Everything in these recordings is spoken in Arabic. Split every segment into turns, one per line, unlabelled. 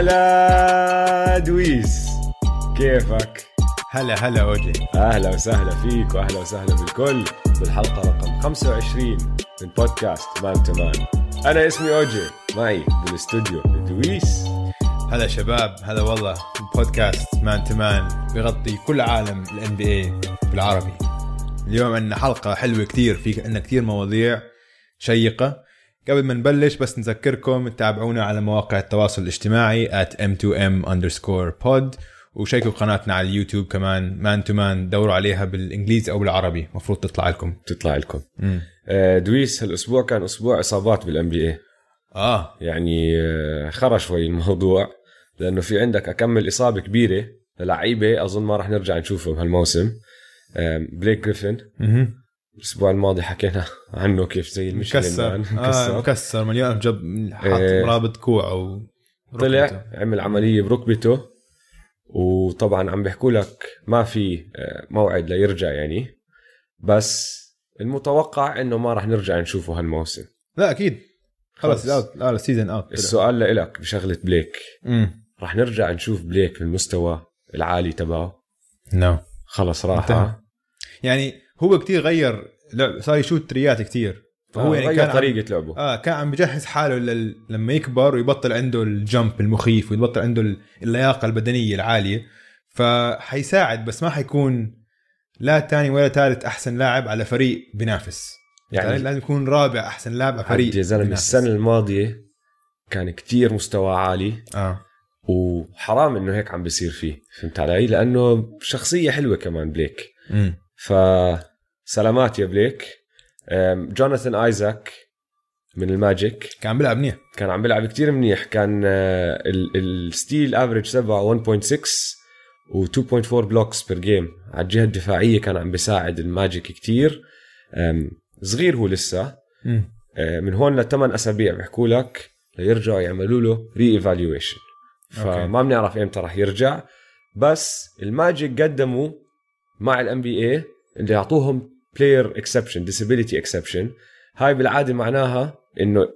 هلا دويس كيفك؟
هلا هلا اوجي
اهلا وسهلا فيك واهلا وسهلا بالكل بالحلقه رقم 25 من بودكاست مان تو مان انا اسمي اوجي معي بالاستوديو دويس
هلا شباب هلا والله بودكاست مان تمان بيغطي كل عالم الان بي اي بالعربي اليوم عندنا حلقه حلوه كثير في عندنا كثير مواضيع شيقه قبل ما نبلش بس نذكركم تتابعونا على مواقع التواصل الاجتماعي at m2m underscore pod وشيكوا قناتنا على اليوتيوب كمان مان تو مان دوروا عليها بالانجليزي او بالعربي مفروض تطلع لكم
بتطلع لكم آه، دويس هالاسبوع كان اسبوع اصابات بالان بي اي
اه
يعني آه، خرا شوي الموضوع لانه في عندك اكمل اصابه كبيره للعيبه اظن ما راح نرجع نشوفهم هالموسم آم، بليك جريفن
مهم.
الاسبوع الماضي حكينا عنه كيف زي المشكله
مكسر
الآن.
آه مكسر مليان جب حاط
إيه.
رابط كوعه
طلع عمل عمليه بركبته وطبعا عم بيحكوا لك ما في آه، موعد ليرجع يعني بس المتوقع انه ما راح نرجع نشوفه هالموسم
لا اكيد خلص
خلص.
اوت لا سيزون اوت
السؤال لإلك بشغله بليك راح نرجع نشوف بليك بالمستوى العالي تبعه
نو
خلص
انتهى. آه،
راحه
يعني هو كتير غير لعب صار يشوت تريات كتير
فهو
فهو
غير
يعني كان عم...
طريقه لعبه
اه كان عم بجهز حاله لل... لما يكبر ويبطل عنده الجمب المخيف ويبطل عنده ال- اللياقه البدنيه العاليه فحيساعد بس ما حيكون لا تاني ولا ثالث احسن لاعب على فريق بينافس يعني
يعني
لازم يكون رابع احسن لاعب على فريق
يا زلمه
بينافس.
السنه الماضيه كان كتير مستوى عالي
اه
وحرام انه هيك عم بيصير فيه فهمت علي لانه شخصيه حلوه كمان بليك
مم.
فسلامات يا بليك أم، جوناثان ايزاك من الماجيك
كان عم بيلعب منيح
كان عم بيلعب كتير منيح كان آه، ال- الستيل افريج تبعه 1.6 و2.4 بلوكس بير جيم على الجهه الدفاعيه كان عم بيساعد الماجيك كتير أم، صغير هو لسه
مم.
آه، من هون لثمان اسابيع بيحكوا لك ليرجعوا يعملوا له ري ايفالويشن فما بنعرف امتى راح يرجع بس الماجيك قدموا مع الام بي اي اللي اعطوهم بلاير اكسبشن ديسابيليتي اكسبشن هاي بالعاده معناها انه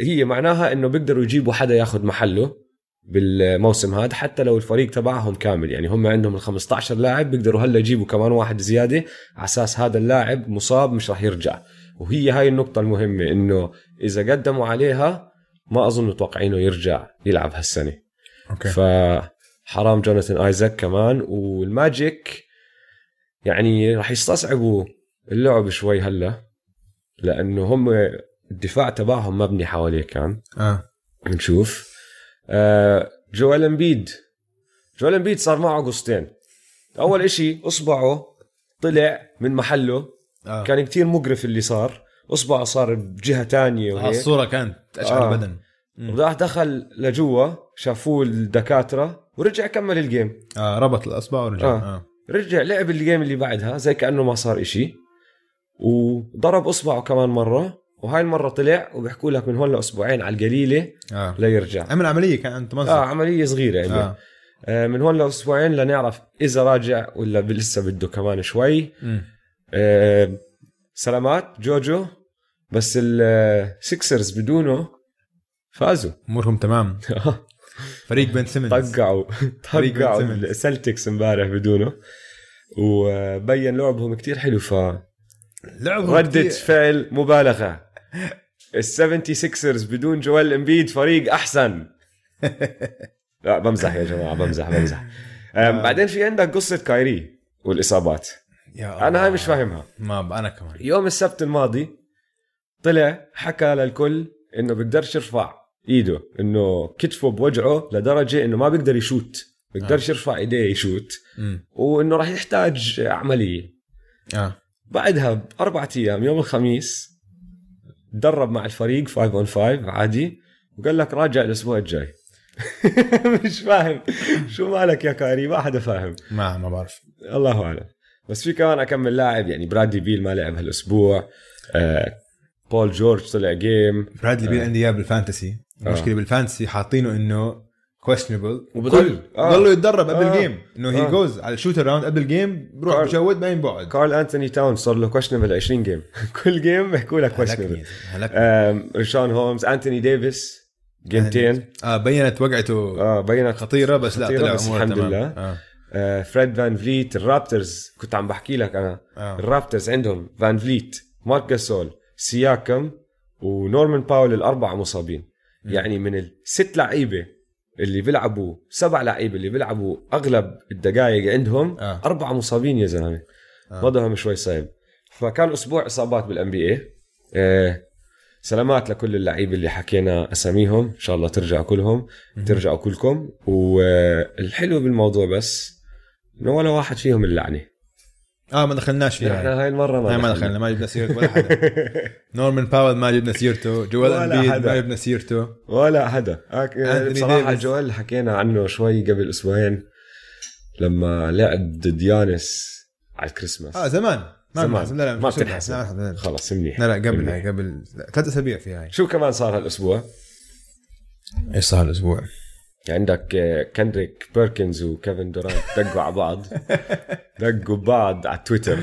هي معناها انه بيقدروا يجيبوا حدا ياخذ محله بالموسم هذا حتى لو الفريق تبعهم كامل يعني هم عندهم ال 15 لاعب بيقدروا هلا يجيبوا كمان واحد زياده على اساس هذا اللاعب مصاب مش راح يرجع وهي هاي النقطه المهمه انه اذا قدموا عليها ما اظن متوقعينه يرجع يلعب هالسنه
اوكي
فحرام جوناثان ايزاك كمان والماجيك يعني راح يستصعبوا اللعب شوي هلا لانه هم الدفاع تبعهم مبني حواليه كان
اه
نشوف آه جوال امبيد جوال امبيد صار معه قصتين اول إشي اصبعه طلع من محله
اه
كان كتير مقرف اللي صار اصبعه صار بجهه تانية
آه،
وهيك
الصوره كانت اشعر
آه.
آه. بدن مم.
راح دخل لجوا شافوه الدكاتره ورجع كمل الجيم
آه ربط الاصبع ورجع
آه.
آه. آه.
رجع لعب الجيم اللي بعدها زي كانه ما صار إشي وضرب اصبعه كمان مره وهاي المره طلع وبيحكوا لك من هون لاسبوعين على القليله
آه.
ليرجع
عمل عمليه كان انت
اه
منظر
عمليه صغيره يعني آه.
اه
آه من هون لاسبوعين لنعرف اذا راجع ولا ب- لسه بده كمان شوي
مم.
آه سلامات جوجو بس السكسرز بدونه فازوا
امورهم تمام فريق بن سيمنز
طقعوا
فريق بن
طقعوا
سيمنز.
السلتكس امبارح بدونه وبين لعبهم كتير حلو ف
لعبهم
ردة
كتير-
فعل مبالغة ال 76ers بدون جوال امبيد فريق احسن لا بمزح يا جماعة بمزح بمزح أم، بعدين في عندك قصة كايري والإصابات
يا الله.
أنا هاي مش فاهمها
ما ب- انا كمان
يوم السبت الماضي طلع حكى للكل إنه بيقدرش يرفع إيده إنه كتفه بوجعه لدرجة إنه ما بيقدر يشوت بيقدرش يرفع إيديه يشوت
مم.
وإنه راح يحتاج عملية
اه
بعدها باربع ايام يوم الخميس تدرب مع الفريق 5 اون 5 عادي وقال لك راجع الاسبوع الجاي مش فاهم شو مالك يا كاري ما حدا فاهم
ما ما بعرف
الله اعلم بس في كمان اكمل لاعب يعني برادلي بيل ما لعب هالاسبوع آه بول جورج طلع جيم
برادلي بيل عندي اياه بالفانتسي المشكله
آه.
بالفانتسي حاطينه انه كويشنبل
وبضل- آه.
ضلوا يتدرب قبل
آه.
الجيم انه هي
آه.
جوز على الشوت راوند قبل الجيم بروح
كارل-
بجود بعدين بقعد
كارل انتوني تاون صار له كوشنبل 20 جيم كل جيم بيحكوا لك كوشنبل
هلكني هلكني
آم، شون هومز انتوني ديفيس جيمتين
اه بينت وقعته
اه بينت
خطيره بس لا
خطيرة
طلع
بس
اموره
الحمد
تمام
لله.
آه.
آه فريد فان فليت الرابترز كنت عم بحكي لك انا
آه.
الرابترز عندهم فان فليت مارك جاسول سياكم ونورمان باول الاربعه مصابين
مم.
يعني من الست لعيبه اللي بيلعبوا سبع لعيبه اللي بيلعبوا اغلب الدقائق عندهم
آه.
اربعه مصابين يا زلمه
آه.
وضعهم شوي صعب فكان اسبوع اصابات بالان بي اي آه، سلامات لكل اللعيبه اللي حكينا اساميهم ان شاء الله ترجعوا كلهم
مم.
ترجعوا كلكم والحلو بالموضوع بس انه ولا واحد فيهم اللعنه
اه ما دخلناش فيها هاي.
احنا هاي المره
هاي ما
دخلنا.
دخلنا ما جبنا سيرة ولا حدا نورمان باول ما جبنا سيرته جوال
ولا
امبيد
حدا.
ما جبنا سيرته
ولا حدا هاك-
أنتوني
بصراحه
ديفيس.
جوال حكينا عنه شوي قبل اسبوعين لما لعب ضد يانس على الكريسماس
اه زمان ما
زمان.
بنحسب لا لا
ما
مش بنحسب.
بتنحسب.
لا، لا، لا، لا.
خلص منيح
لا لا قبل
منيح.
هاي قبل لا، ثلاث اسابيع في هاي
شو كمان صار هالاسبوع؟
ايش صار الاسبوع؟
عندك آه، كندريك بيركنز وكيفن دورانت دقوا على بعض دقوا بعض على تويتر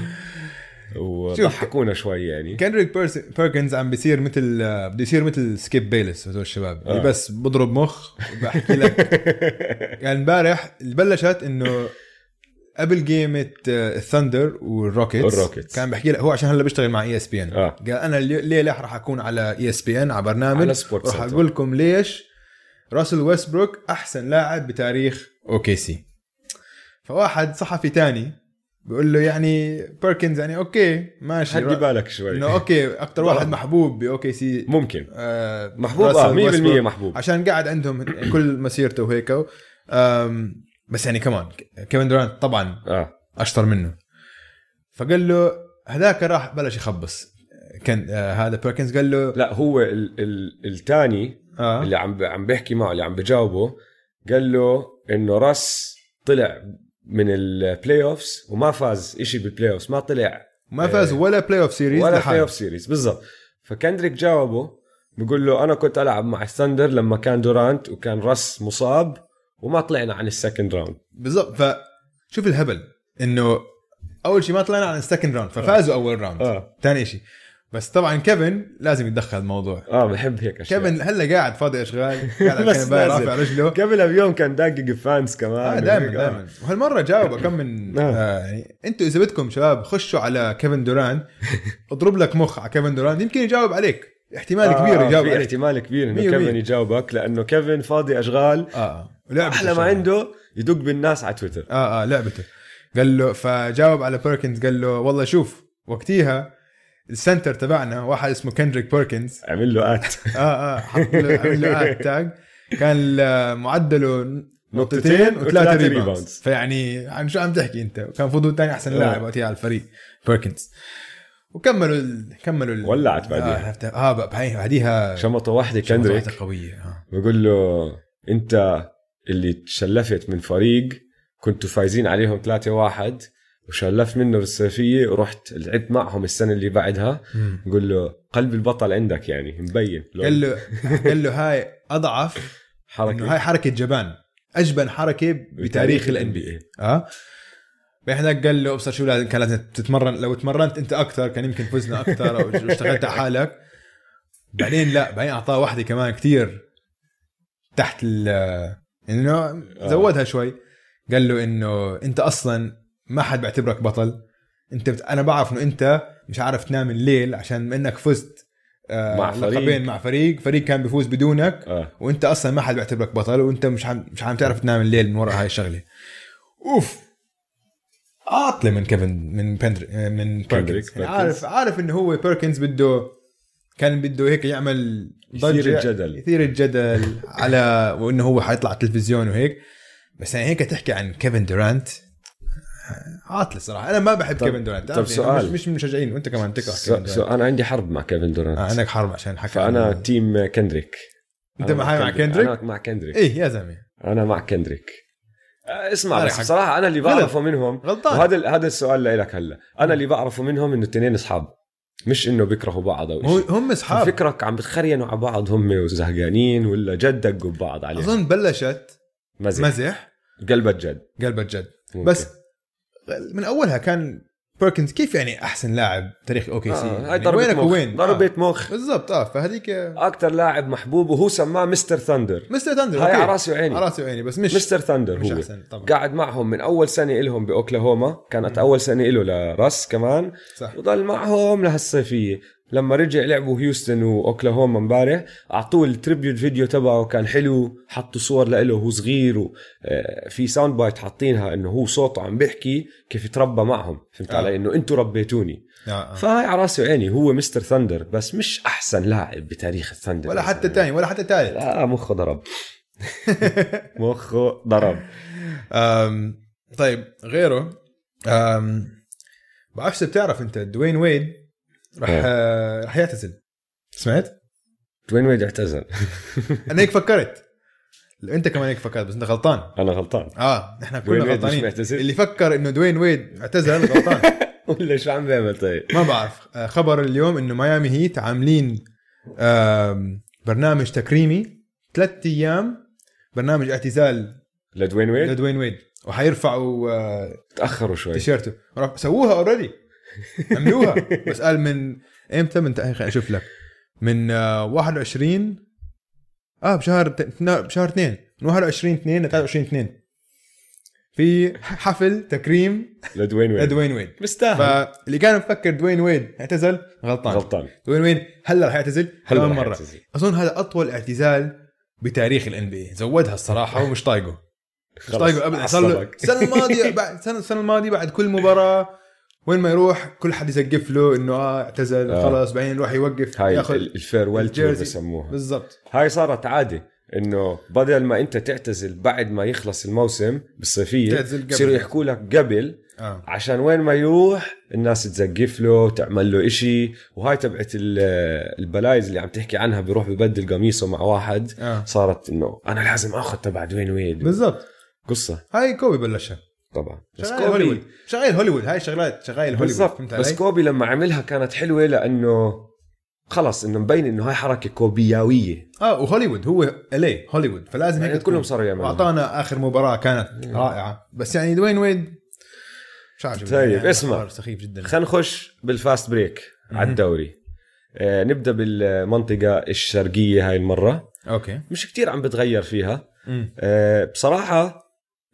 وضحكونا شوي يعني
كندريك بيرس- بيركنز عم بيصير مثل آه، بده يصير مثل سكيب بيلس هذول الشباب اللي
آه.
بس بضرب مخ بحكي لك يعني امبارح اللي بلشت انه قبل جيمة آه، الثندر والروكيتس
والروكيتس.
كان بحكي لك هو عشان هلا بيشتغل مع E اي اس بي ان
آه.
قال انا اللي- الليله رح اكون على E اي اس بي ان على برنامج
على سبورت
رح
سنتر
اقول لكم ليش راسل ويستبروك احسن لاعب بتاريخ اوكي سي فواحد صحفي تاني بيقول له يعني بيركنز يعني اوكي ماشي
هدي
را-
بالك شوي
انه اوكي اكثر واحد محبوب باوكي سي
ممكن
آه،
محبوب
راسل
اه 100%
ويستبروك.
محبوب
عشان قاعد عندهم كل مسيرته وهيك آم، بس يعني كمان كيفن دورانت طبعا
اه
اشطر منه فقال له هذاك راح بلش يخبص كان آه هذا بيركنز قال له
لا هو ال- ال- الثاني
اه
اللي عم ب- عم بيحكي معه اللي عم بجاوبه قال له انه راس طلع من البلاي اوفس وما فاز إشي بالبلاي اوفس ما طلع
ما فاز ولا بلاي اوف سيريز
إيه. ولا بلاي
لحاله
اوف سيريز بالضبط فكندريك جاوبه بقول له انا كنت العب مع الثندر لما كان دورانت وكان راس مصاب وما طلعنا عن السكند راوند
بالضبط فشوف الهبل انه اول شيء ما طلعنا عن السكند راوند ففازوا اول راوند
اه
ثاني شيء بس طبعا كيفن لازم يتدخل الموضوع
اه بحب هيك اشياء
كيفن هلا قاعد فاضي اشغال قاعد على
بس
الكنباية
نازل.
رافع رجله
قبلها بيوم كان داقق فانس كمان
آه دائما
وهيك،
دائما وهالمره جاوب كم من
آه.
آه يعني انتوا اذا بدكم شباب خشوا على كيفن دوران اضرب لك مخ على كيفن دوران يمكن يجاوب عليك احتمال
آه،
كبير يجاوب
في
عليك
احتمال كبير انه
مية
كيفن
مية.
يجاوبك لانه كيفن فاضي اشغال
اه اه لعبته
احلى ما
شباب.
عنده يدق بالناس على تويتر
اه اه لعبته قال له فجاوب على بيركنز قال له والله شوف وقتيها السنتر تبعنا واحد اسمه كندريك بيركنز
عمل له ات
اه اه حط له عمل له آد تاج كان ال- معدله نقطتين
نقطتين
وثلاثه
وثلاثة
ريباوندز
ريباوندز.
فيعني عن شو عم تحكي انت كان فضول ثاني احسن
آه.
لاعب وقتها على الفريق بيركنز وكملوا ال... كملوا ال...
ولعت بعديها.
اه, عرفت- آه بقى- بعديها- بعديها
شمطه واحده
كندريك
كندريك
قويه آه.
بقول له انت اللي تشلفت من فريق كنتوا فايزين عليهم 3-1 وشلفت منه بالصيفيه ورحت لعبت معهم السنه اللي بعدها بقول له قلب البطل عندك يعني مبين لو
قال له قال له هاي اضعف انه
حركه
هاي حركه جبان اجبن حركه بتاريخ الان بي
اي
اه بيحدك قال له ابصر شو لازم كان لازم تتمرن لو تمرنت انت اكثر كان يمكن فزنا اكثر او اشتغلت على حالك بعدين لا بعدين اعطاه واحده كمان كثير تحت ال انه
آه.
زودها شوي قال له انه انت اصلا ما حد بيعتبرك بطل انت بت... انا بعرف انه انت مش عارف تنام الليل عشان ما انك فزت آه
مع فريق.
لقبين مع فريق فريق كان بيفوز بدونك
اه
وانت اصلا ما حد بيعتبرك بطل وانت مش عم مش عم تعرف تنام الليل من وراء هاي الشغله اوف عاطله من كيفن من بندر من بيركنز
كندريك
يعني
بيركنز.
عارف عارف انه هو بيركنز بده كان بده هيك يعمل
يثير الجدل
يثير الجدل على وانه هو حيطلع على التلفزيون وهيك بس يعني هيك تحكي عن كيفن دورانت عاطله صراحه انا ما بحب
طب-
كيفن دورانت
طب
يعني
سؤال.
مش, مش من مشجعين وانت كمان تكره
سو,
كيفن
سو
دورانت
انا عندي حرب مع كيفن دورانت
آه، عندك حرب عشان حكى
فانا
عن-
تيم كندريك
انت
أنا
معي مع كندريك
انا مع كندريك
ايه يا زلمه
انا مع كندريك آه، اسمع
أنا
بس
حق-
بصراحه انا اللي
غلط.
بعرفه منهم
غلطان
وهذا هذا السؤال لك هلا انا اللي بعرفه منهم انه الاثنين اصحاب مش انه بيكرهوا بعض او
هو
شيء
هم اصحاب
فكرك عم بتخرينوا على بعض هم وزهقانين ولا جد دقوا ببعض عليه
اظن بلشت
مزح
مزح
قلبت جد
قلبت جد
ممكن.
بس من اولها كان بيركنز كيف يعني احسن لاعب تاريخ اوكي سي يعني
آه. هاي ضربة مخ
وين آه.
ضربة مخ
بالضبط اه فهذيك
اكثر لاعب محبوب وهو سماه مستر ثندر
مستر تندر
هاي على راسي وعيني.
على راسي وعيني بس مش
مستر ثندر
مش
هو
احسن طبعا
قعد معهم من اول سنه لهم باوكلاهوما كانت اول سنه له لراس كمان
صح
وضل معهم لهالصيفيه لما رجع لعبوا هيوستن واوكلاهوما امبارح اعطوه التريبيوت فيديو تبعه كان حلو حطوا صور له وهو صغير آه، وفي ساوند بايت حاطينها انه هو صوته عم بيحكي كيف تربى معهم فهمت
آه.
علي انه انتوا ربيتوني
آه، آه.
فهاي على راسي وعيني هو مستر ثندر بس مش احسن لاعب بتاريخ الثندر
ولا حتى الثاني ولا حتى الثالث
لا مخه ضرب مخه ضرب
أم، طيب غيره أم، بعرفش إذا بتعرف انت دوين ويد رح
إيه.
آه، رح يعتزل سمعت؟
وين وين اعتزل
انا هيك فكرت انت كمان هيك فكرت بس انت غلطان
انا غلطان
اه نحن
دوين
كلنا
ويد مش
غلطانين
معتزل
اللي فكر انه دوين ويد اعتزل غلطان
ولا شو عم بيعمل طيب
ما بعرف آه، خبر اليوم انه ميامي هيت عاملين آم، برنامج تكريمي ثلاث ايام برنامج اعتزال
لدوين ويد
لدوين ويد وحيرفعوا آه،
تاخروا شوي
تيشيرته رف- سووها اوريدي عملوها بس قال من امتى من تاريخ اشوف لك من آه، 21 اه بشهر ت- اتنا- بشهر 2 من 21 2 ل 23 2 في حفل تكريم
لدوين ويد
لدوين ويد
مستاهل
فاللي كان مفكر دوين ويد اعتزل غلطان
غلطان
دوين ويد هلا رح يعتزل
هلا
كمان
رح
مره
يعتزل.
اظن هذا اطول اعتزال بتاريخ الان بي زودها الصراحه ومش طايقه مش طايقه ابدا صار له
عصبك.
السنه الماضيه بعد السنه السنه الماضيه بعد كل مباراه وين ما يروح كل حد يسقف له انه اه اعتزل
آه.
آه. خلاص بعدين يروح يوقف
هاي
ياخذ
ال- الفيرويل تور
الجيرزي.
بسموها
بالضبط
هاي صارت عاده انه بدل ما انت تعتزل بعد ما يخلص الموسم بالصيفيه
تعتزل قبل.
بصيروا يحكوا لك قبل
اه
عشان وين ما يروح الناس تزقف له تعمل له إشي وهاي تبعت ال- البلايز اللي عم تحكي عنها بيروح ببدل قميصه مع واحد
اه
صارت انه انا لازم اخذ تبع دوين ويد
بالضبط
قصه
هاي كوبي بلشها
طبعا بس
شغال هوليوود
كوبي
شغال هوليوود هاي شغلات شغال هوليوود
بالضبط
فهمت
بس
علي؟
كوبي لما عملها كانت حلوه لانه خلص انه مبين انه هاي حركه كوبياويه
اه وهوليوود هو الي هوليوود فلازم هيك
يعني
تكون.
كلهم صاروا يعملوا
واعطانا اخر مباراه كانت رائعه بس يعني دوين ويد مش عارف
طيب،
يعني
اسمع.
قرار سخيف جدا
خلينا نخش بالفاست بريك على الدوري آه نبدا بالمنطقه الشرقيه هاي المره
اوكي
مش كتير عم بتغير فيها
مم.
آه، بصراحة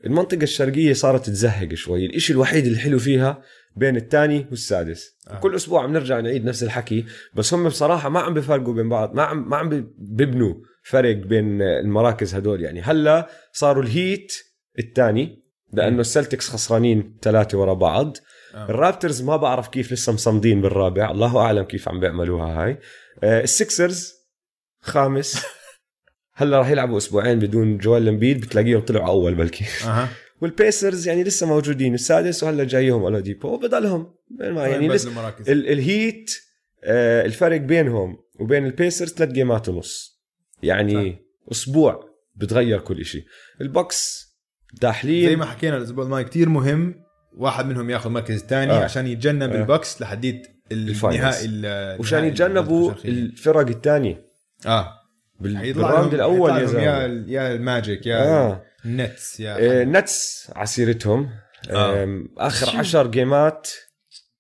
المنطقة الشرقية صارت تزهق شوي الإشي الوحيد الحلو فيها بين الثاني والسادس
آه.
آه. كل أسبوع عم نرجع نعيد نفس الحكي بس هم بصراحة ما عم بفرقوا بين بعض ما عم ما عم بي- بيبنوا فرق بين آه، المراكز هدول يعني هلا صاروا الهيت الثاني لأنه السلتكس خسرانين ثلاثة ورا بعض
آه.
الرابترز ما بعرف كيف لسه مصمدين بالرابع الله اعلم كيف عم بيعملوها هاي آه، السكسرز خامس هلا راح يلعبوا اسبوعين بدون جوال امبيد بتلاقيهم طلعوا اول بلكي
اها
والبيسرز يعني لسه موجودين السادس وهلا جايهم اولاديبو وبضلهم بين ما- يعني
يعني
لسه
المراكز
ال- الهيت آه، الفرق بينهم وبين البيسرز ثلاث جيمات ونص يعني اسبوع بتغير كل شيء البوكس
زي
داحلين
ما حكينا الاسبوع الماضي كثير مهم واحد منهم ياخذ مركز الثاني
آه.
آه. عشان يتجنب
آه.
آه. البوكس لحديت
الفاينلز.
النهائي ال-
وشان
النهائي
يتجنبوا
الشرقية.
الفرق الثانيه
اه
بال-
حيطلع
بالراوند
لهم-
الاول
حيطلع
يا زلمه
لهم ال- يا الماجيك يا
آه.
النتس يا
آه، نتس عسيرتهم
آه.
آم، اخر عشر جيمات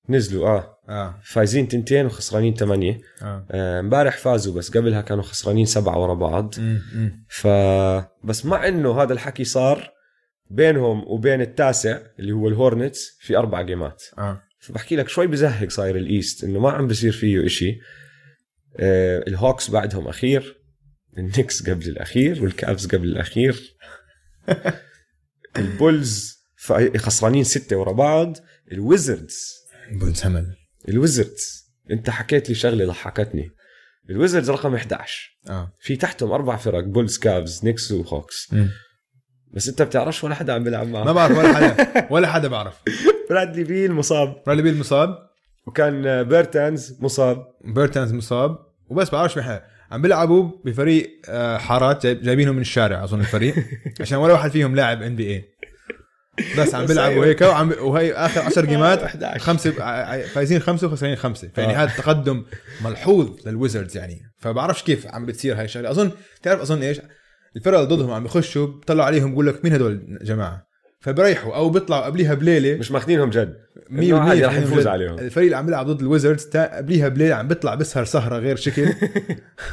نزلوا اه
اه
فايزين تنتين وخسرانين ثمانيه
اه
آه، امبارح فازوا بس قبلها كانوا خسرانين سبعه ورا بعض
مم، مم.
ف بس مع انه هذا الحكي صار بينهم وبين التاسع اللي هو الهورنتس في اربع جيمات
اه
فبحكي لك شوي بزهق صاير الايست انه ما عم بصير فيه إشي آه، الهوكس بعدهم اخير النكس قبل الاخير والكافز قبل الاخير البولز فا- خسرانين ستة ورا بعض الويزردز
بنت همل
الويزردز انت حكيت لي شغله ضحكتني الويزردز رقم 11
اه
في تحتهم اربع فرق بولز كافز نكس وهوكس
مم.
بس انت بتعرفش ولا حدا عم بيلعب
ما
معه
بعرف ولا حدا ولا حدا بعرف
برادلي بيل مصاب
برادلي بيل مصاب
وكان آه، بيرتانز مصاب
بيرتانز مصاب وبس بعرفش مين حدا. عم بيلعبوا بفريق آه، حارات جايب- جايبينهم من الشارع اظن الفريق عشان ولا واحد فيهم لاعب ان بي اي بس عم
بس
بيلعبوا
أيوة.
هيك وعم وهي اخر 10
آه،
جيمات
11.
خمسه ع- ع- فايزين خمسه وخسرانين خمسه فيعني
آه.
هذا تقدم ملحوظ للويزردز يعني فبعرفش كيف عم بتصير هاي الشغله اظن تعرف اظن ايش الفرق اللي ضدهم عم بخشوا بطلعوا عليهم بقول لك مين هدول يا جماعه فبريحوا او بيطلعوا قبليها بليله
مش ماخذينهم جد إنه عادي راح نفوز عليهم.
الفريق اللي عم بيلعب ضد الويزردز تا- قبليها بليل عم بيطلع بيسهر سهره غير شكل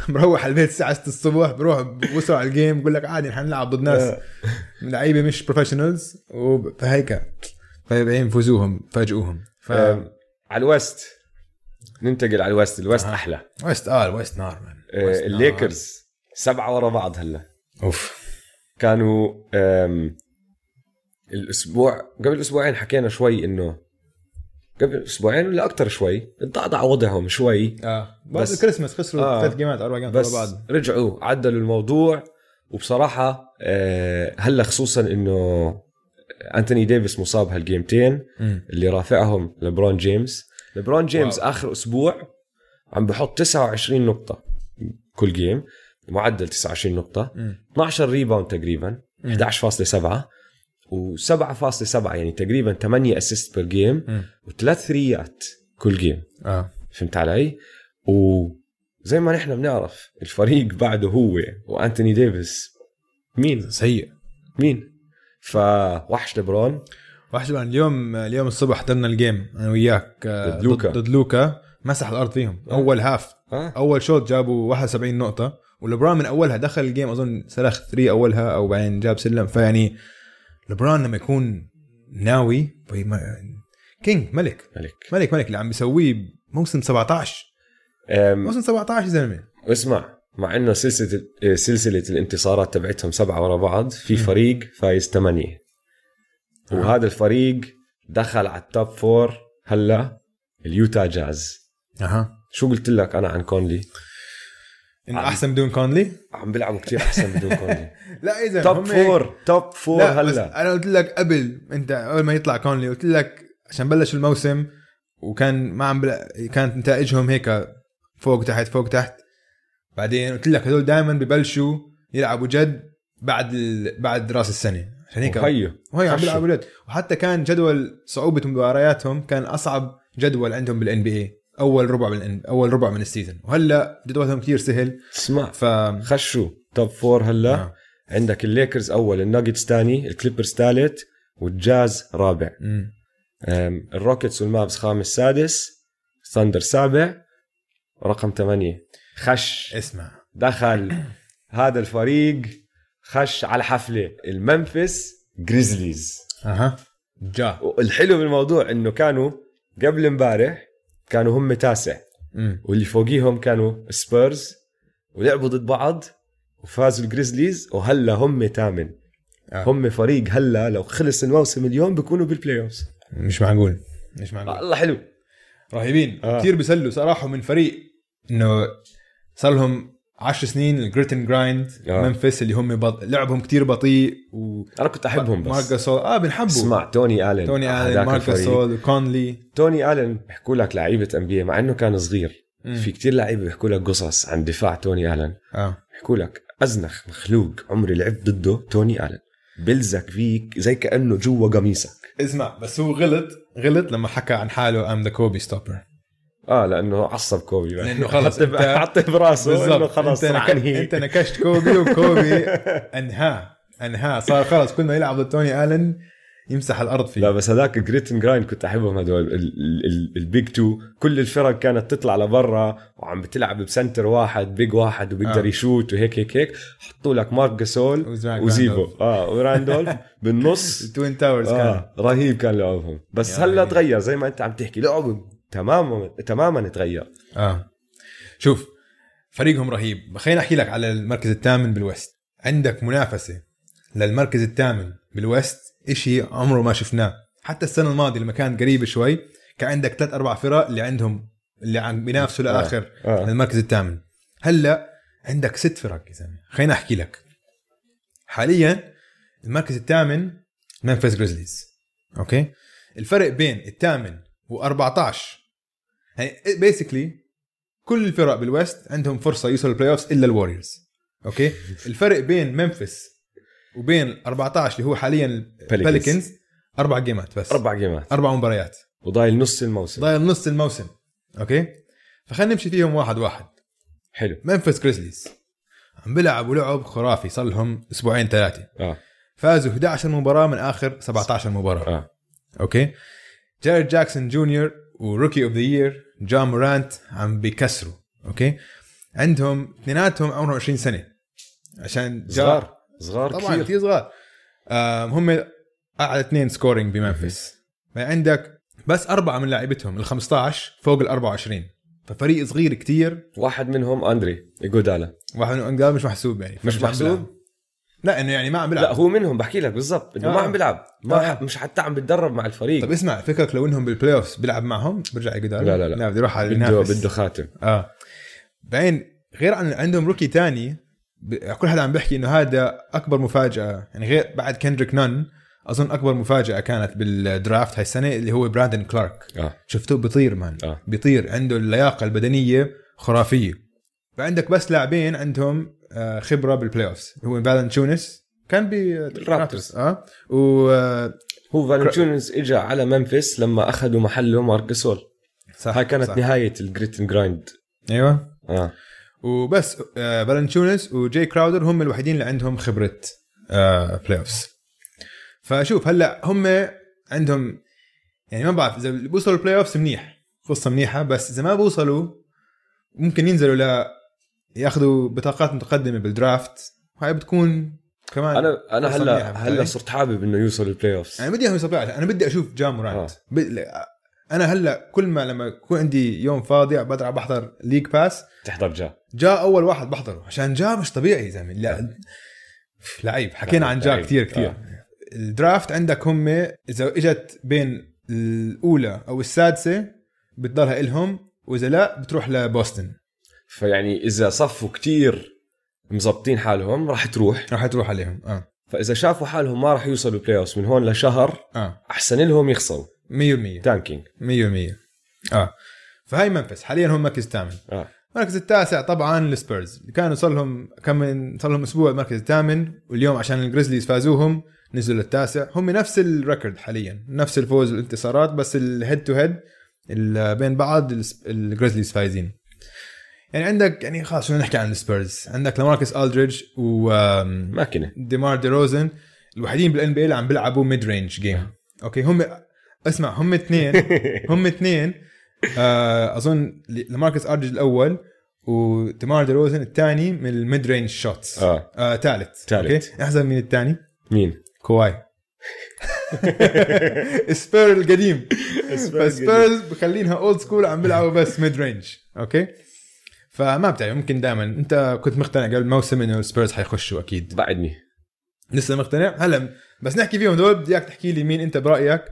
مروح على البيت الساعه 6 الصبح بروح بوصل على الجيم بقول لك عادي نحن نلعب ضد ناس
آه.
لعيبه مش بروفيشنالز فهيك فبعدين فوزوهم فاجئوهم ف
آم، آه. على الوست ننتقل على الوست الوست احلى
ويست اه ويست نار مان ويست
آه،
نار.
الليكرز سبعه ورا بعض هلا
اوف
كانوا آم، الاسبوع قبل اسبوعين حكينا شوي انه قبل اسبوعين ولا اكثر شوي ضعضع وضعهم شوي
اه
بس-
بس الكريسماس
آه.
خسروا ثلاث جيمات اربع جيمات ورا
بس
بعض
رجعوا عدلوا الموضوع وبصراحه آه، هلا خصوصا انه انتوني ديفيس مصاب هالجيمتين اللي رافعهم لبرون جيمس لبرون جيمس واو.
واو.
اخر اسبوع عم بحط 29 نقطه كل جيم معدل 29 نقطه 12 ريباوند تقريبا 11.7 و7.7 يعني تقريبا 8 اسيست بير جيم وثلاث ثريات كل جيم
اه
فهمت علي؟ وزي ما نحن بنعرف الفريق بعده هو وانتوني ديفيس مين
سيء
مين فوحش لبرون
وحش بقى اليوم اليوم الصبح حضرنا الجيم انا وياك آه،
ضد لوكا.
ضد آه. لوكا مسح الارض فيهم اول هاف
ها
اول شوط جابوا 71 نقطه ولبران من اولها دخل الجيم اظن سلخ 3 اولها او بعدين جاب سلم فيعني لبران لما يكون ناوي بي- ما- كينج ملك
ملك
ملك ملك اللي عم بيسويه موسم 17
أم،
موسم 17 يا زلمه
اسمع مع انه سلسله سلسله إيه، الانتصارات تبعتهم سبعه ورا بعض في
مم.
فريق فايز ثمانيه
آه.
وهذا الفريق دخل على التوب فور هلا اليوتا جاز
اها
شو قلت لك انا عن كونلي؟
انه
عم-
احسن بدون كونلي
عم بيلعبوا كتير احسن بدون كونلي
لا اذا
توب فور توب فور
لا بس
هلا
انا قلت لك قبل انت قبل ما يطلع كونلي قلت لك عشان بلش الموسم وكان ما عم بلا... كانت نتائجهم هيك فوق تحت فوق تحت بعدين قلت لك هذول دائما ببلشوا يلعبوا جد بعد ال... بعد راس السنه عشان هيك
هيو
وهي عم
خشوا.
بيلعبوا جد وحتى كان جدول صعوبه مبارياتهم كان اصعب جدول عندهم بالان بي اي اول ربع من اول ربع من السيزون وهلا جدولهم كثير سهل
اسمع
ف
خشوا توب فور هلا
آه.
عندك الليكرز اول الناجتس ثاني الكليبرز ثالث والجاز رابع
أمم.
أم، الروكيتس والمابس خامس سادس ثاندر سابع رقم ثمانية خش
اسمع
دخل هذا الفريق خش على الحفلة المنفس جريزليز
اها جا
والحلو بالموضوع انه كانوا قبل امبارح كانوا هم تاسع
أمم.
واللي فوقيهم كانوا سبيرز ولعبوا ضد بعض وفازوا الجريزليز وهلا هم تامن
آه.
هم فريق هلا لو خلص الموسم اليوم بيكونوا بالبلاي اوف
مش معقول مش معقول
الله حلو
رهيبين
آه.
آه. كثير بيسلوا صراحه من فريق انه صار لهم 10 سنين الجريت اند جرايند
آه.
منفس اللي هم بط... لعبهم كتير بطيء و
انا كنت احبهم بس
مارك جاسول اه بنحبه
اسمع توني الين
توني
هداك
الين مارك
الفريق.
جاسول وكونلي
توني الين بيحكوا لك لعيبه ام بي مع انه كان صغير
مم.
في كتير لعيبه بيحكوا لك قصص عن دفاع توني الين
اه
بيحكوا لك ازنخ مخلوق عمري لعبت ضده توني الين بلزك فيك زي كانه جوا قميصك
اسمع بس هو غلط غلط لما حكى عن حاله ام ذا كوبي ستوبر
اه لانه عصب كوبي بقى.
لأنه خلص
حط ب-
أنت-
حط براسه انه خلص
انت,
راح
نك...
أنهي.
انت نكشت كوبي وكوبي انهاه انهاه صار خلص كل ما يلعب ضد توني الين يمسح الارض فيه
لا بس هذاك جريت اند جرايند كنت احبهم هدول ال- ال- ال- البيج تو كل الفرق كانت تطلع لبرا وعم بتلعب بسنتر واحد بيج واحد وبيقدر آه.
آه.
يشوت وهيك هيك هيك حطوا لك مارك جاسول
وزاك
وزيفو
راندولف.
اه وراندولف بالنص
التوين تاورز كان
آه رهيب كان لعبهم بس
يا
هلا
رهيب.
تغير زي ما انت عم تحكي لعبهم تماما تماما تغير
اه شوف فريقهم رهيب خليني احكي لك على المركز الثامن بالوست عندك منافسه للمركز الثامن بالوست إشي عمره ما شفناه حتى السنه الماضيه لما كان قريب شوي كان عندك ثلاث اربع فرق اللي عندهم اللي عم بينافسوا
آه.
لاخر
آه.
المركز الثامن هلا عندك ست فرق يا زلمه خليني احكي لك حاليا المركز الثامن منفس جريزليز اوكي الفرق بين الثامن و14 يعني بيسكلي كل الفرق بالويست عندهم فرصه يوصلوا البلاي اوفز الا الوريورز اوكي الفرق بين منفس وبين 14 اللي هو حاليا البليكنز اربع جيمات بس
اربع جيمات
اربع مباريات
وضايل نص الموسم
ضايل نص الموسم اوكي فخلينا نمشي فيهم واحد واحد
حلو
منفس جريزليز عم بيلعبوا لعب خرافي صار لهم اسبوعين ثلاثه
اه
فازوا 11 مباراه من اخر 17 مباراه
اه
اوكي جاريد جاكسون جونيور وروكي اوف ذا يير جون مورانت عم بيكسروا اوكي عندهم اثنيناتهم عمرهم 20 سنه عشان جار
صغار صغار
طبعا
كثير
كثير صغار آم، هم اعلى اثنين سكورينج بمنفس فعندك بس اربعه من لاعبتهم ال 15 فوق ال 24 ففريق صغير كتير
واحد منهم اندري جودالا
واحد من أنجاب مش محسوب يعني
مش
عم
محسوب؟
بيلعب. لا انه يعني ما عم بيلعب
لا هو منهم بحكي لك بالضبط انه ما
آه.
عم بيلعب ما
آه.
ح... مش حتى عم بتدرب مع الفريق
طب اسمع فكرك لو انهم بالبلاي اوف بيلعب معهم برجع يقدر
لا، لا، لا.
لا بده يروح على
بده
ينافس.
بده خاتم
اه بعدين غير عن عندهم روكي تاني ب... كل حدا عم بيحكي انه هذا اكبر مفاجاه يعني غير بعد كندريك نان اظن اكبر مفاجاه كانت بالدرافت هاي السنه اللي هو براندن كلارك
اه
شفتوه بيطير مان
آه.
بيطير عنده اللياقه البدنيه خرافيه فعندك بس لاعبين عندهم آه، خبره بالبلاي اوفز هو فالنتشونس كان بالرابترز اه و آه،
هو فالنتيونز اجى على منفس لما اخذوا محله ماركسول
صح
هاي كانت
صح.
نهايه الجريت اند جرايند
ايوه
اه
وبس آه، فالنتشونس وجاي كراودر هم الوحيدين اللي عندهم خبره آه، بلاي اوفس فشوف هلا هم عندهم يعني ما بعرف اذا بوصلوا البلاي اوفس منيح قصه منيحه بس اذا ما بوصلوا ممكن ينزلوا ل ياخذوا بطاقات متقدمه بالدرافت وهي بتكون كمان
انا انا
قصة
هلا
منيحة،
هلا
فاهم؟
صرت حابب انه يوصل البلاي اوف
انا بدي اياهم يصيروا بلاي أوفس، انا بدي اشوف جام مورانت
آه.
ب... لا، انا هلا كل ما لما يكون عندي يوم فاضي بقدر بحضر ليج باس
تحضر جا
جاء اول واحد بحضره عشان جاء مش طبيعي يا زلمه لا لعيب حكينا عن جاء
لعيب.
كثير كثير الدرافت عندك هم اذا اجت بين الاولى او السادسه بتضلها الهم واذا لا بتروح لبوسطن
فيعني اذا صفوا كتير مزبطين حالهم راح تروح
راح تروح عليهم اه
فاذا شافوا حالهم ما راح يوصلوا بلاي اوف من هون لشهر
اه
احسن لهم يخسروا
100%
تانكينج
100% اه فهي منفس حاليا هم مركز ثامن
اه
المركز التاسع طبعا السبيرز اللي كانوا صار لهم كم من صار لهم اسبوع المركز الثامن واليوم عشان الجريزليز فازوهم نزلوا التاسع هم نفس الركورد حاليا نفس الفوز والانتصارات بس الهيد تو هيد بين بعض الس- الجريزليز فايزين يعني عندك يعني خلاص شو نحكي عن السبيرز عندك لماركس الدريدج و آم،
ماكينه
ديمار دي روزن الوحيدين بالان بي اللي عم بيلعبوا ميد رينج جيم اوكي هم اسمع هم اثنين هم اثنين آه اظن ل- لماركس ارجج الاول وديمار دي روزن الثاني من الميد رينج شوتس
اه
آه ثالث
تالت.
اوكي احزن مين الثاني
مين
كواي سبير القديم فسبيرز بخلينها اولد سكول عم بيلعبوا بس ميد رينج اوكي فما بتعرف ممكن دائما انت كنت مقتنع قبل الموسم انه السبيرز حيخشوا اكيد
بعدني
لسه مقتنع هلا بس نحكي فيهم دول بدي اياك تحكي لي مين انت برايك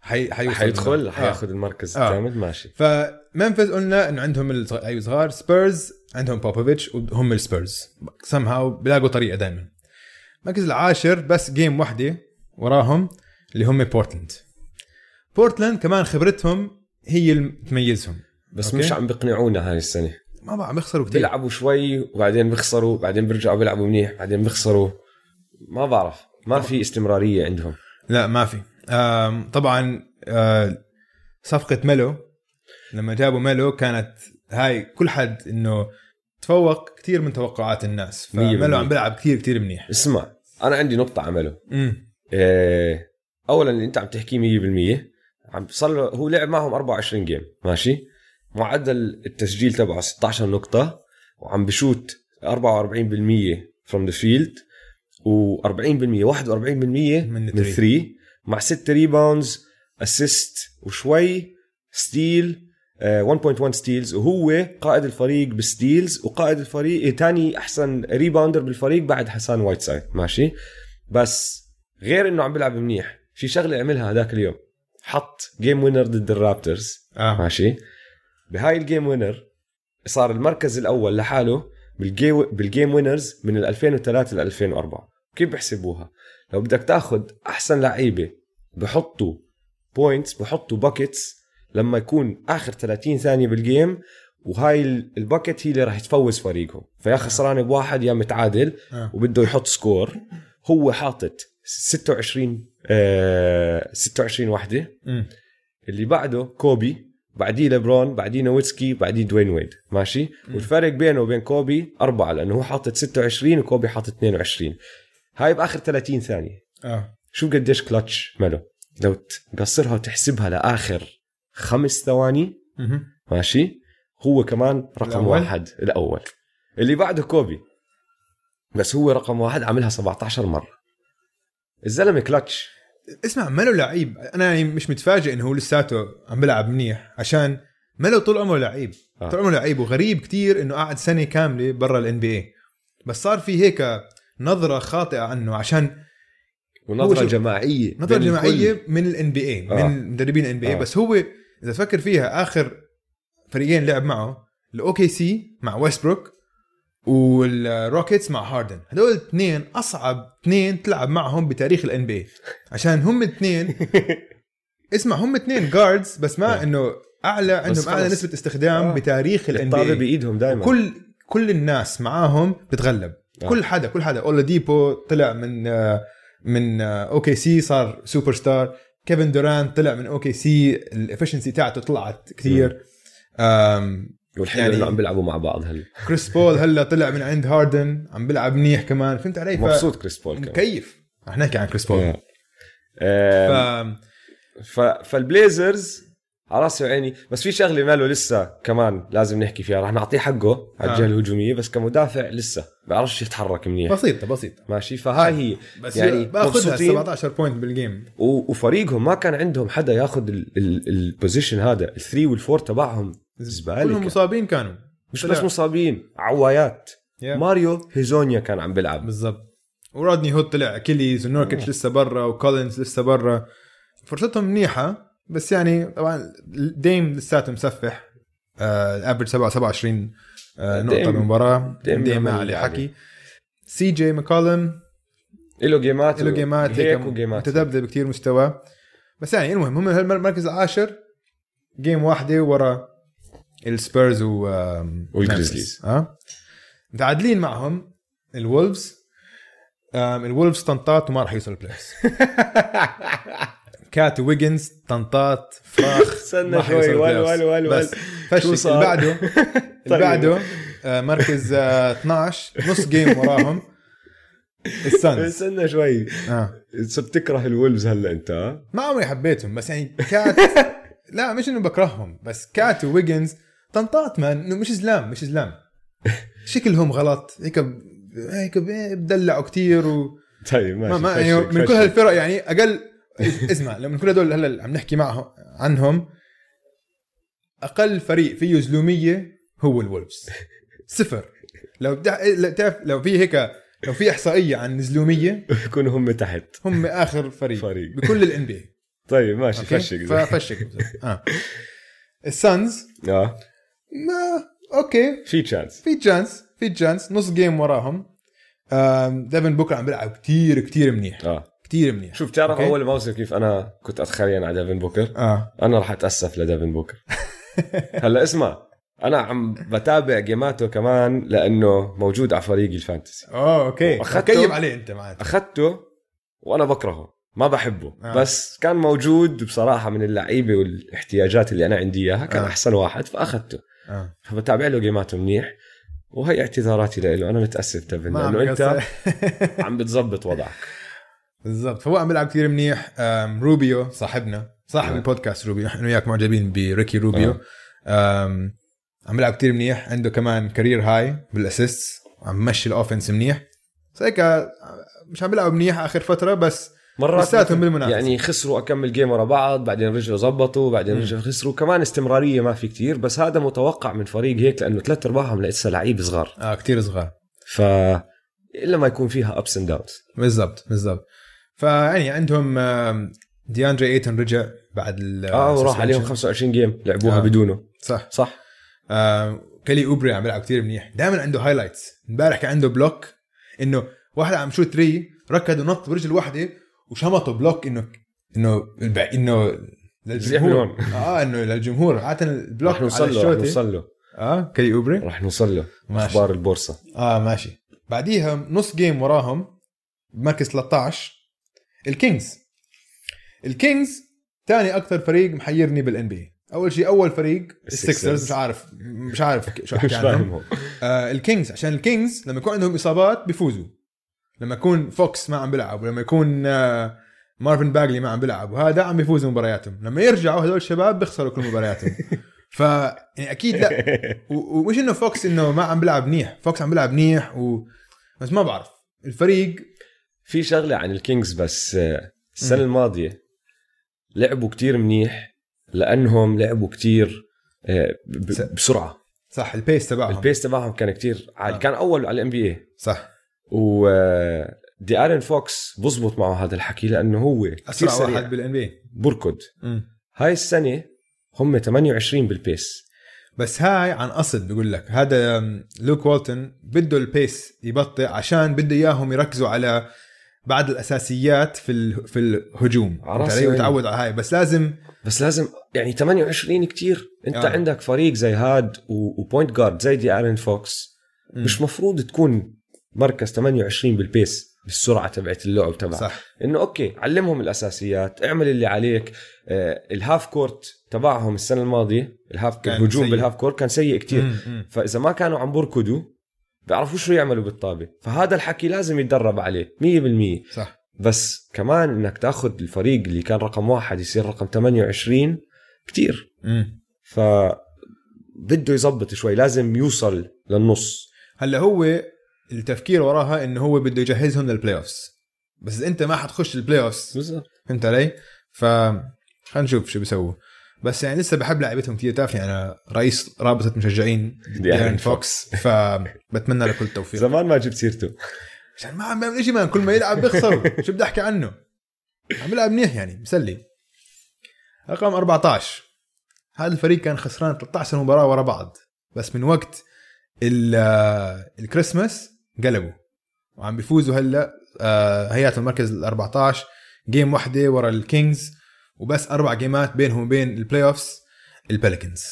حي... حيوصل
حيدخل
آه.
حياخذ المركز
آه.
الثامن ماشي
فمنفذ قلنا انه عندهم الصغ- اي صغار سبيرز عندهم بوبوفيتش وهم السبيرز سم هاو بيلاقوا طريقه دائما المركز العاشر بس جيم واحده وراهم اللي هم بورتلاند بورتلاند كمان خبرتهم هي اللي تميزهم
بس
أوكي.
مش عم بيقنعونا هاي السنه
ما بقى عم يخسروا كثير
بيلعبوا شوي وبعدين بيخسروا بعدين بيرجعوا بيلعبوا منيح بعدين بيخسروا ما بعرف
آه.
ما في استمراريه عندهم
لا ما في آم، طبعا آه، صفقة ميلو لما جابوا ميلو كانت هاي كل حد انه تفوق كثير من توقعات الناس
مية بالمية.
فميلو عم بيلعب كثير كثير منيح
اسمع انا عندي نقطه عمله
امم
إيه اولا اللي انت عم تحكيه 100% عم صار له- هو لعب معهم 24 جيم ماشي معدل التسجيل تبعه 16 نقطه وعم بشوت 44% from the field و40% 41%
من
من
الثري.
3 مع 6 ريباوندز اسيست وشوي ستيل آه، 1.1 ستيلز وهو قائد الفريق بستيلز وقائد الفريق آه، ثاني احسن ريباوندر بالفريق بعد حسان وايت سايد ماشي بس غير انه عم بيلعب منيح في شغله عملها هذاك اليوم حط جيم وينر ضد الرابترز
اه
ماشي بهاي الجيم وينر صار المركز الاول لحاله بالجي بالجيم وينرز من ال 2003 ل 2004 كيف بحسبوها لو بدك تاخذ احسن لعيبه بحطوا بوينتس بحطوا باكيتس لما يكون اخر 30 ثانيه بالجيم وهاي ال- الباكت هي اللي راح تفوز فريقهم فيا خسران بواحد يا متعادل
آه.
وبده يحط سكور هو حاطط 26 آه 26 وحده
أمم.
اللي بعده كوبي بعديه لبرون بعديه نويتسكي بعديه دوين ويد ماشي
مم.
والفرق بينه وبين كوبي أربعة لأنه هو حاطط 26 وكوبي حاطط 22 هاي بآخر 30 ثانية
اه
شو قديش كلتش ماله لو تقصرها وتحسبها لاخر خمس ثواني
مهم.
ماشي هو كمان رقم الأول.
الأول؟
واحد الاول اللي بعده كوبي بس هو رقم واحد عملها 17 مره الزلمه كلتش
اسمع ما له لعيب انا يعني مش متفاجئ انه هو لساته عم بلعب منيح عشان ما له طول عمره لعيب
آه.
طول عمره لعيب وغريب كتير انه قعد سنه كامله برا الان بي اي بس صار في هيك نظره خاطئه عنه عشان
ونظره
شوف،
جماعيه
نظره
بين الكل.
جماعيه من الان بي اي
آه.
من مدربين الان بي اي
آه.
بس هو اذا تفكر فيها اخر فريقين لعب معه الاوكي سي مع ويستبروك والروكيتس مع هاردن هدول الاثنين اصعب اثنين تلعب معهم بتاريخ الان بي عشان هم الاثنين اسمع هم اثنين جاردز بس ما
آه.
انه اعلى عندهم
بس
اعلى
خلص.
نسبه استخدام
آه.
بتاريخ الان
الطابه
بي
بايدهم دائما
كل كل الناس معاهم بتتغلب
آه.
كل حدا كل حدا اولا ديبو طلع من آه، من اوكي سي صار سوبر ستار كيفن دوران طلع من اوكي سي الافشنسي تاعته طلعت كثير آم،
والحلو
يعني-
يعني... انه عم بيلعبوا مع بعض هلا
كريس بول هلا طلع من عند هاردن عم بيلعب منيح كمان فهمت علي ف-
مبسوط كريس بول كمان
مكيف رح نحكي عن كريس بول
آه. آه،
ف...
إيه. ف... فالبليزرز على راسي وعيني بس في شغله ماله لسه كمان لازم نحكي فيها رح نعطيه حقه على الجهه
آه.
الهجوميه بس كمدافع لسه بعرفش يتحرك منيح
بسيطه بسيطه
ماشي فهاي هي
بس
يعني
يعني باخذها
مبسوطين.
17 بوينت بالجيم
و... وفريقهم ما كان عندهم حدا ياخذ ال- ال- البوزيشن هذا الثري والفور تبعهم
كلهم
زباله
مصابين كانوا
مش
طلع.
بس مصابين عوايات
Yeah.
ماريو هيزونيا كان عم بيلعب
بالضبط ورادني هود طلع اكيليز ونوركيتش لسه برا وكولينز لسه برا فرصتهم منيحه بس يعني طبعا ديم لساته مسفح آه، الافرج 27 آه، نقطه
ديم-
بالمباراه
ديم
ديم, ديم ما
يعمل
عليه
اللي
حكي سي جي ماكولم
له جيمات
له جيمات
هيك
هيك
وجيمات
متذبذب بكثير مستواه بس يعني المهم هم المركز العاشر جيم واحده ورا السبيرز و آم،
والجريزليز.
ممفيس. اه متعادلين معهم الولفز آم، الولفز طنطات وما راح يوصلوا البلاي كات ويجنز طنطات فراخ ما
استنى
راح
شوي
يوصلوا
ول
البلايأوفس.
ول ول ول
بس فشك
شو
اللي
صار؟
بعده اللي
طيب.
بعده آه، مركز آه، 12 نص جيم وراهم السانز
استنى شوي
آه.
انت بتكره الولفز هلا انت ها؟
ما عمري حبيتهم بس يعني كات لا مش انه بكرههم بس كات وويجنز طنطات مان انه مش زلام مش زلام شكلهم غلط هيك ب... هيك ب- بدلعوا كتير و...
طيب ماشي
ما ما
فشك-
يعني من
فشك.
كل هالفرق يعني اقل اسمع لو من كل هدول هلا اللي عم نحكي معهم عنهم اقل فريق فيه زلوميه هو الولفز صفر لو بتع... لو تعرف لو في هيك لو في احصائيه عن زلوميه
يكونوا هم تحت
هم اخر فريق
فريق.
بكل الان بي
طيب ماشي
أوكي؟
فشك زي-
ففشك اه السانز
اه
ما اوكي
في تشانس
في تشانس في تشانس نص جيم وراهم آم، ديفن بوكر عم بيلعب كتير كتير منيح
اه
كتير منيح
شوف تعرف
أوكي.
اول موسم كيف انا كنت اتخيل على ديفن بوكر
اه
انا راح اتاسف لديفن بوكر هلا اسمع انا عم بتابع جيماته كمان لانه موجود على فريقي الفانتسي
اوه اوكي
وأخدته.
اخذته آه، عليه انت معك
اخذته وانا بكرهه ما بحبه
آه.
آه. بس كان موجود بصراحه من اللعيبه والاحتياجات اللي انا عندي اياها كان
آه.
آه. احسن واحد فاخذته
آه.
فبتابع له جيماته منيح وهي اعتذاراتي له انا متاسف ديفن
ما عم
لانه انت
يقصر.
عم بتظبط وضعك
بالضبط فهو عم بيلعب كتير منيح آم، روبيو صاحبنا صاحب
آه.
البودكاست روبيو نحن وياك معجبين بريكي روبيو
آه.
آم، عم بيلعب كتير منيح عنده كمان كارير هاي بالاسيست عم مشي الاوفنس منيح بس هيك آه، مش عم بيلعب منيح اخر فتره بس
مرات
لساتهم
مثل-
بالمنافسة.
يعني خسروا اكمل جيم ورا بعض بعدين رجعوا زبطوا بعدين
مم.
رجعوا خسروا كمان استمراريه ما في كتير بس هذا متوقع من فريق هيك لانه ثلاث ارباعهم لسه لعيب صغار
اه كتير صغار
ف الا ما يكون فيها ابس اند داونز
بالضبط بالضبط فيعني عندهم آم، دياندري ايتن رجع بعد ال
اه وراح
suspension.
عليهم 25 جيم لعبوها
آه.
آه. بدونه
صح
صح
آه، كالي اوبري عم بيلعب كتير منيح دائما عنده هايلايتس امبارح كان عنده بلوك انه واحد عم شوت تري ركض ونط برجل واحده وشمطه بلوك انه انه البع- انه للجمهور
يعملون.
اه انه للجمهور عاده البلوك
رح
على
نوصل له رح
الشوتة.
نوصل له
اه كالي اوبري
رح نوصل له
ماشي.
اخبار البورصه
اه ماشي بعديها نص جيم وراهم بمركز 13 الكينجز الكينجز ثاني اكثر فريق محيرني بالان بي اول شيء اول فريق السكسرز مش عارف مش عارف شو
مش
احكي عنهم
فاهمهم
آه الكينجز عشان الكينجز لما يكون عندهم اصابات بيفوزوا لما يكون فوكس ما عم بيلعب ولما يكون آه مارفن باجلي ما عم بيلعب وهذا عم بيفوز مبارياتهم لما يرجعوا هذول الشباب بيخسروا كل مبارياتهم ف يعني اكيد لا و- ومش انه فوكس انه ما عم بيلعب منيح فوكس عم بيلعب منيح و... بس ما بعرف الفريق
في شغله عن الكينجز بس آه، السنه
مم.
الماضيه لعبوا كتير منيح لانهم لعبوا كتير آه، ب-
س-
بسرعه
صح البيس تبعهم
البيس تبعهم كان كتير عالي
آه.
كان اول على الام بي اي
صح
و آه، دي ارن فوكس بزبط معه هذا الحكي لانه هو كثير
اسرع
سريع
واحد بالان بي
بركض هاي السنه هم 28 بالبيس
بس هاي عن قصد بقول لك هذا أم، لوك والتن بده البيس يبطئ عشان بده اياهم يركزوا على بعض الاساسيات في ال... في الهجوم
على راسي يعني.
علي
وعيني.
وتعود على هاي بس لازم
بس لازم يعني 28 كتير انت
آه.
آه. عندك فريق زي هاد و- وبوينت جارد زي دي ارن فوكس مش مفروض تكون مركز 28 بالبيس بالسرعه تبعت اللعب تبعك
صح
انه اوكي علمهم الاساسيات اعمل اللي عليك آه الهاف كورت تبعهم السنه الماضيه الهاف
كان
الهجوم
سيء.
بالهاف كورت كان سيء كتير
مم، مم.
فاذا ما كانوا عم بركضوا بيعرفوا شو يعملوا بالطابه فهذا الحكي لازم يتدرب عليه 100%
صح
بس كمان انك تاخذ الفريق اللي كان رقم واحد يصير رقم 28 كتير
مم.
ف بده يظبط شوي لازم يوصل للنص
هلا هو التفكير وراها انه هو بده يجهزهم للبلاي اوفس بس انت ما حتخش البلاي اوفس
بالضبط
فهمت علي؟ ف خلينا نشوف شو بيسووا بس يعني لسه بحب لعبتهم كثير تعرف يعني انا رئيس رابطه مشجعين
يعني
ديرن فوكس فبتمنى له كل التوفيق
زمان ما جبت سيرته
عشان ما عم بيعمل شيء مان كل ما يلعب بيخسر شو بدي احكي عنه عم يلعب منيح يعني مسلي رقم 14 هذا الفريق كان خسران 13 مباراه ورا بعض بس من وقت ال- آه، الكريسماس قلبوا وعم بيفوزوا هلا آه، هيئات المركز ال 14 جيم واحده ورا الكينجز وبس اربع جيمات بينهم وبين البلاي اوفس البلكنز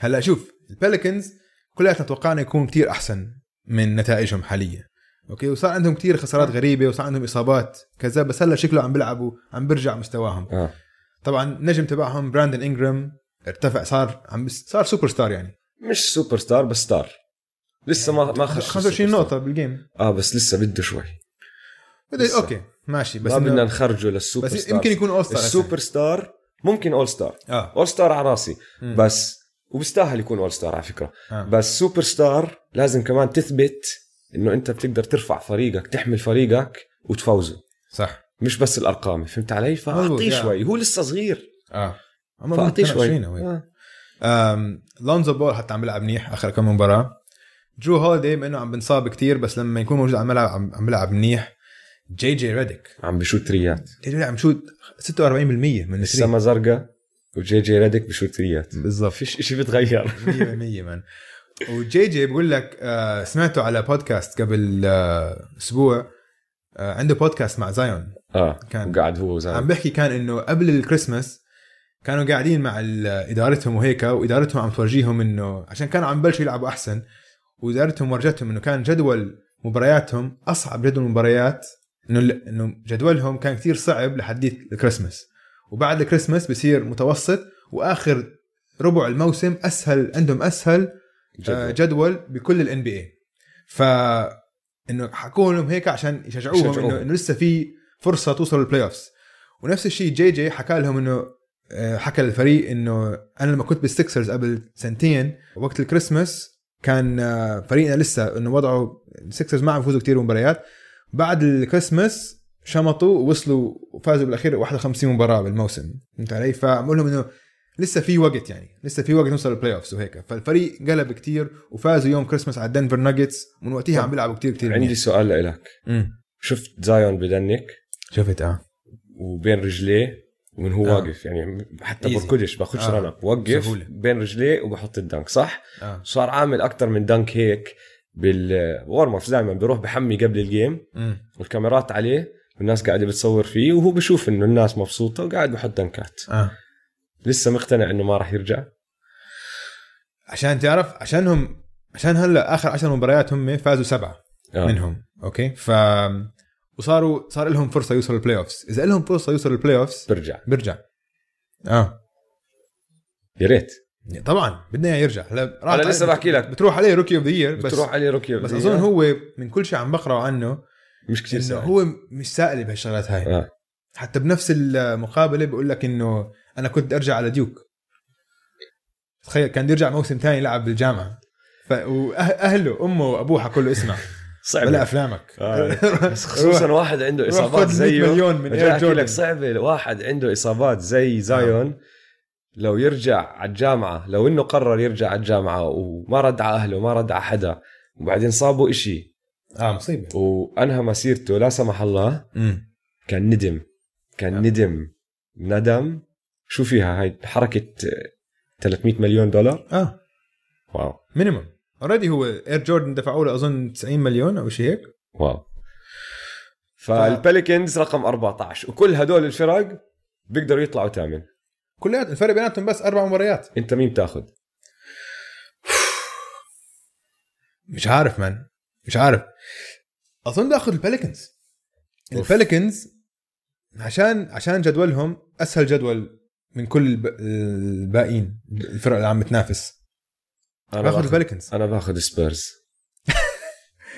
هلا شوف البلكنز كلياتنا توقعنا يكون كتير احسن من نتائجهم حاليا اوكي وصار عندهم كتير خسارات غريبه وصار عندهم اصابات كذا بس هلا شكله عم بيلعبوا عم بيرجع مستواهم
اه
طبعا نجم تبعهم براندن انجرام ارتفع صار عم بس- صار سوبر ستار يعني
مش سوبر ستار بس ستار لسه ما ما خش
25
السوبر
نقطه بالجيم
ستار. اه بس لسه بده شوي
بدي
لسه.
اوكي ماشي
بس
بس
ما بدنا
إنه-
نخرجه للسوبر
بس
ستار
يمكن يكون اول ستار
السوبر ستار ممكن اول ستار
اه
اول ستار على راسي
مم.
بس وبيستاهل يكون اول ستار على فكره
آه.
بس سوبر ستار لازم كمان تثبت انه انت بتقدر ترفع فريقك تحمل فريقك وتفوزه
صح
مش بس الارقام فهمت علي
مظبوط،
فاعطيه
يعني.
شوي هو لسه صغير
اه
فاعطيه شوي آه.
أم، لونزو بول حتى عم بيلعب منيح اخر كم مباراه درو هوليدي مع انه عم بنصاب كتير بس لما يكون موجود على الملعب عم عم بيلعب منيح جي جي ريديك
عم بشوت تريات
جي جي ريديك عم شوت 46% من الثري
السما زرقاء وجي جي ريدك بشوت تريات
بالضبط
فيش شيء بتغير
100% مان وجي جي بقول لك آه، سمعته على بودكاست قبل آه، اسبوع آه، عنده بودكاست مع زايون
اه
كان.
وقاعد هو وزلمه
عم بحكي كان انه قبل الكريسماس كانوا قاعدين مع ال- ادارتهم وهيك وادارتهم عم تورجيهم انه عشان كانوا عم بلشوا يلعبوا احسن وادارتهم ورجتهم انه كان جدول مبارياتهم اصعب جدول مباريات انه ال- انه جدولهم كان كثير صعب لحديت الكريسماس وبعد الكريسماس بصير متوسط واخر ربع الموسم اسهل عندهم اسهل جدول,
جد.
آه، جدول بكل الان بي اي ف انه حكوا لهم هيك عشان يشجعوهم
يشجعوهم.
انه انه لسه في فرصه توصل للبلاي اوفز ونفس الشيء جي جي حكى لهم انه آه، حكى للفريق انه انا لما كنت بالسكسرز قبل سنتين وقت الكريسماس كان آه، فريقنا لسه انه وضعه السكسرز ما عم يفوزوا كثير مباريات بعد الكريسماس شمطوا ووصلوا وفازوا بالاخير 51 مباراه بالموسم فهمت علي؟ فبقول لهم انه لسه في وقت يعني لسه في وقت نوصل البلاي اوفز وهيك فالفريق قلب كتير وفازوا يوم كريسماس على دنفر ناجتس ومن وقتها عم بيلعبوا كتير كتير
عندي
منيح.
سؤال لك
أمم.
شفت زايون بدنك
شفت اه
وبين رجليه ومن هو
آه.
آه. واقف يعني حتى
Easy.
بركدش باخدش
آه.
آه. رنب وقف
سهولة.
بين رجليه وبحط الدنك صح
اه
صار عامل اكثر من دنك هيك بالورم اب دائما بيروح بحمي قبل الجيم
أمم.
والكاميرات عليه والناس قاعده بتصور فيه وهو بشوف انه الناس مبسوطه وقاعد بحط دنكات
اه
لسه مقتنع انه ما راح يرجع
عشان تعرف عشان هم عشان هلا اخر 10 مباريات هم فازوا سبعه
آه.
منهم اوكي ف وصاروا صار لهم فرصه يوصلوا البلاي اوفز اذا لهم فرصه يوصلوا البلاي اوفز
برجع
بيرجع اه
يا ريت
طبعا بدنا اياه يرجع هلا راحت
أنا لسه
عليه-
بحكي لك.
بتروح عليه روكي اوف ذا يير بس
بتروح عليه روكي
بس اظن هو من كل شيء عم بقرا عنه
مش كثير
انه
سهل هو
هو مش سائل بهالشغلات هاي
آه.
حتى بنفس المقابله بيقول لك انه انا كنت بدي ارجع على ديوك تخيل كان بده يرجع موسم ثاني يلعب بالجامعه ف... واهله امه وابوه حكوا له اسمع بلا
صعبة
افلامك
آه. بس خصوصا واحد عنده
روح
اصابات
خد 100
زيه
مليون من
رجع
اير
احكي
جوردن
لك صعبه واحد عنده اصابات زي
آه.
زايون لو يرجع على الجامعه لو انه قرر يرجع على الجامعه وما رد على اهله ما رد على حدا وبعدين صابه إشي
اه مصيبه
وانهى مسيرته لا سمح الله كان ندم كان
آه.
ندم ندم شو فيها هاي حركه آه، 300 مليون دولار
اه
واو
مينيمم اوريدي هو اير جوردن دفعوا له اظن 90 مليون او شيء هيك
واو فالبليكنز رقم 14 وكل هدول الفرق بيقدروا يطلعوا ثامن
كلياتهم الفرق بيناتهم بس اربع مباريات
انت مين بتاخذ
مش عارف مان مش عارف اظن باخذ البليكنز
أوف.
البليكنز عشان عشان جدولهم اسهل جدول من كل الب- الباقيين الفرق اللي عم بتنافس
انا
باخذ البليكنز
انا باخذ سبيرز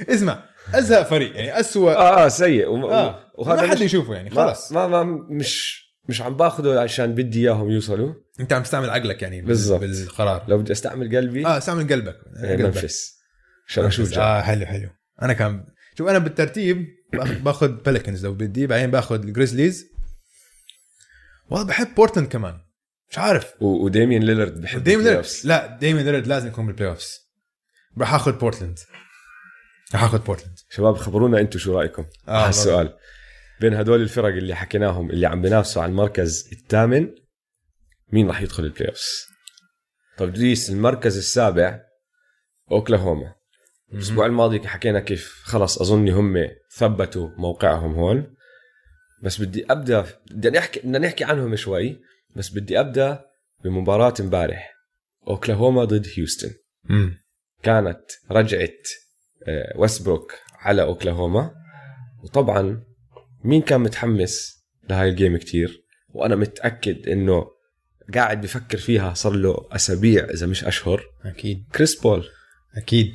اسمع ازهق فريق يعني اسوء
اه اه سيء و...
اه
و- وهذا
ما حد
مش...
يشوفه يعني
خلص
خلاص
ما, ما مش مش عم باخذه عشان بدي اياهم يوصلوا
انت عم تستعمل عقلك يعني بال-
بالظبط.
بالقرار
لو بدي استعمل قلبي آه.
اه استعمل قلبك قلبك
منفس آه. عشان اشوف جاي.
اه حلو حلو انا كان شوف انا بالترتيب باخ- باخذ بلكنز لو بدي بعدين باخذ الجريزليز والله بحب بورتن كمان مش عارف
و... وديمين ليلرد بحب
ديمين ليرد
الplayoffs.
لا ديمين ليرد لازم يكون بالبلاي اوفز راح اخذ بورتلاند راح اخذ بورتلاند
شباب خبرونا انتم شو رايكم
آه،
آه
والله.
السؤال بين هدول الفرق اللي حكيناهم اللي عم بينافسوا على المركز الثامن مين راح يدخل البلاي اوفس طب ليس المركز السابع اوكلاهوما الاسبوع الماضي حكينا كيف خلص اظن هم ثبتوا موقعهم هون بس بدي ابدا بدنا نحكي بدنا نحكي عنهم شوي بس بدي ابدا بمباراه امبارح اوكلاهوما ضد هيوستن
أمم.
كانت رجعه آه، ويستبروك على اوكلاهوما وطبعا مين كان متحمس لهاي الجيم كتير وانا متاكد انه قاعد بفكر فيها صار له اسابيع اذا مش اشهر
اكيد
كريس بول
اكيد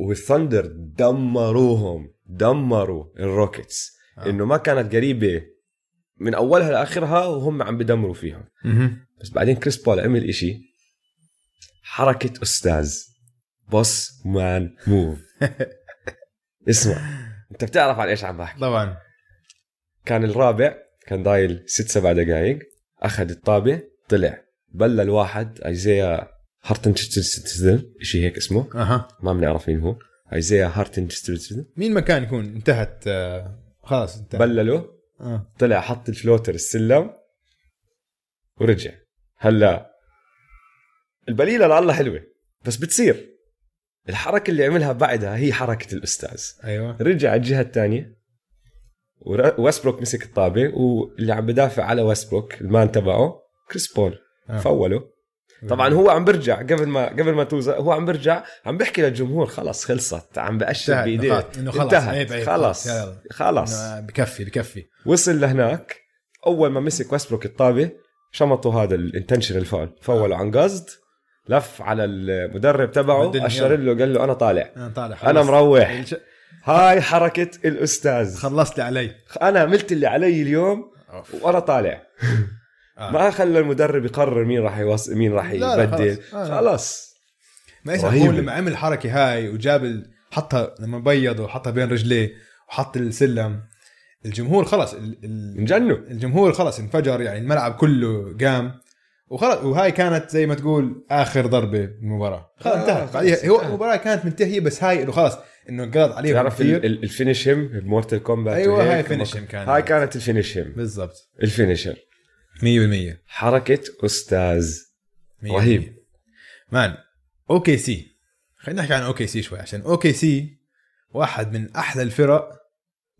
والثندر دمروهم دمروا الروكيتس
آه.
آه. انه ما كانت قريبه من اولها لاخرها وهم عم بدمروا فيهم
أمم.
بس بعدين كريس بول عمل إشي حركه استاذ بوس مان موف اسمع انت بتعرف عن ايش عم بحكي
طبعا
كان الرابع كان ضايل ست سبع دقائق اخذ الطابه طلع بلل واحد ايزيا هارتن شيء هيك اسمه
اها
ما بنعرف مين هو ايزيا هارتن
مين مكان يكون انتهت آه، خلاص انتهت
بلله
آه.
طلع حط الفلوتر السلم ورجع هلا البليله لله حلوه بس بتصير الحركه اللي عملها بعدها هي حركه الاستاذ
ايوه
رجع على الجهه الثانيه ويسبروك مسك الطابه واللي عم بدافع على ويسبروك المان تبعه كريس بول
آه.
فوله طبعا هو عم برجع قبل ما قبل ما توزع هو عم برجع عم بيحكي للجمهور خلص خلصت عم بأشر
انتهت
بايديه
نقاط. إنه إيه، خلص، عيب،
انتهت
عيب،
خلص
يلا، يلا.
خلص
إنه بكفي بكفي
وصل لهناك اول ما مسك ويسبروك الطابه شمطوا هذا الانتنشنال فاول فولوا
آه.
عن قصد لف على المدرب
بدل-
تبعه اشر له قال له انا طالع
انا طالع خلص.
انا مروح
الش-
هاي حركه الاستاذ
خلصت لي علي
انا عملت اللي علي اليوم وانا طالع
آه.
ما خلى المدرب يقرر مين راح يوص... مين راح
لا، لا،
يبدل
خلص. آه، لا.
خلاص
ما اسمع
رهيبة.
هو لما عمل الحركه هاي وجاب ال... حطها لما بيض وحطها بين رجليه وحط السلم الجمهور خلص ال... ال...
انجنوا
الجمهور خلص انفجر يعني الملعب كله قام وخلص وهاي كانت زي ما تقول اخر ضربه بالمباراه خلص
آه،
انتهت
خلص،
بعدها هو
انتهت.
المباراه كانت منتهيه بس هاي انه خلص انه انقلط عليهم
تعرف
طيب، كثير
الفينش هيم بمورتال كومبات
ايوه هاي فينش كان
هاي كانت الفينش هيم
بالضبط
الفينشر
100%
حركه استاذ
مية
رهيب.
بالمية. مان اوكي سي خلينا نحكي عن اوكي سي شوي عشان اوكي سي واحد من احلى الفرق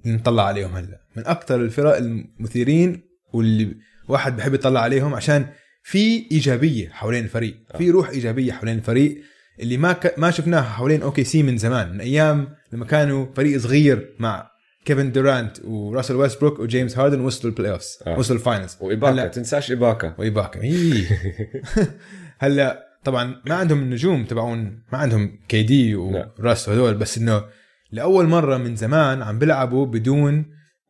اللي نطلع عليهم هلا من اكثر الفرق المثيرين واللي واحد بحب يطلع عليهم عشان في ايجابيه حوالين الفريق
آه.
في روح ايجابيه حوالين الفريق اللي ما ك... ما شفناها حوالين اوكي سي من زمان من ايام لما كانوا فريق صغير مع كيفن دورانت وراسل ويستبروك وجيمس هاردن وصلوا البلاي اوفز
آه.
وصلوا الفاينلز
وإباكا
هلا-
تنساش إباكا
ويباكا إيه. هلا طبعا ما عندهم النجوم تبعون ما عندهم كي دي
لا.
وراس هذول بس انه لاول مره من زمان عم بيلعبوا بدون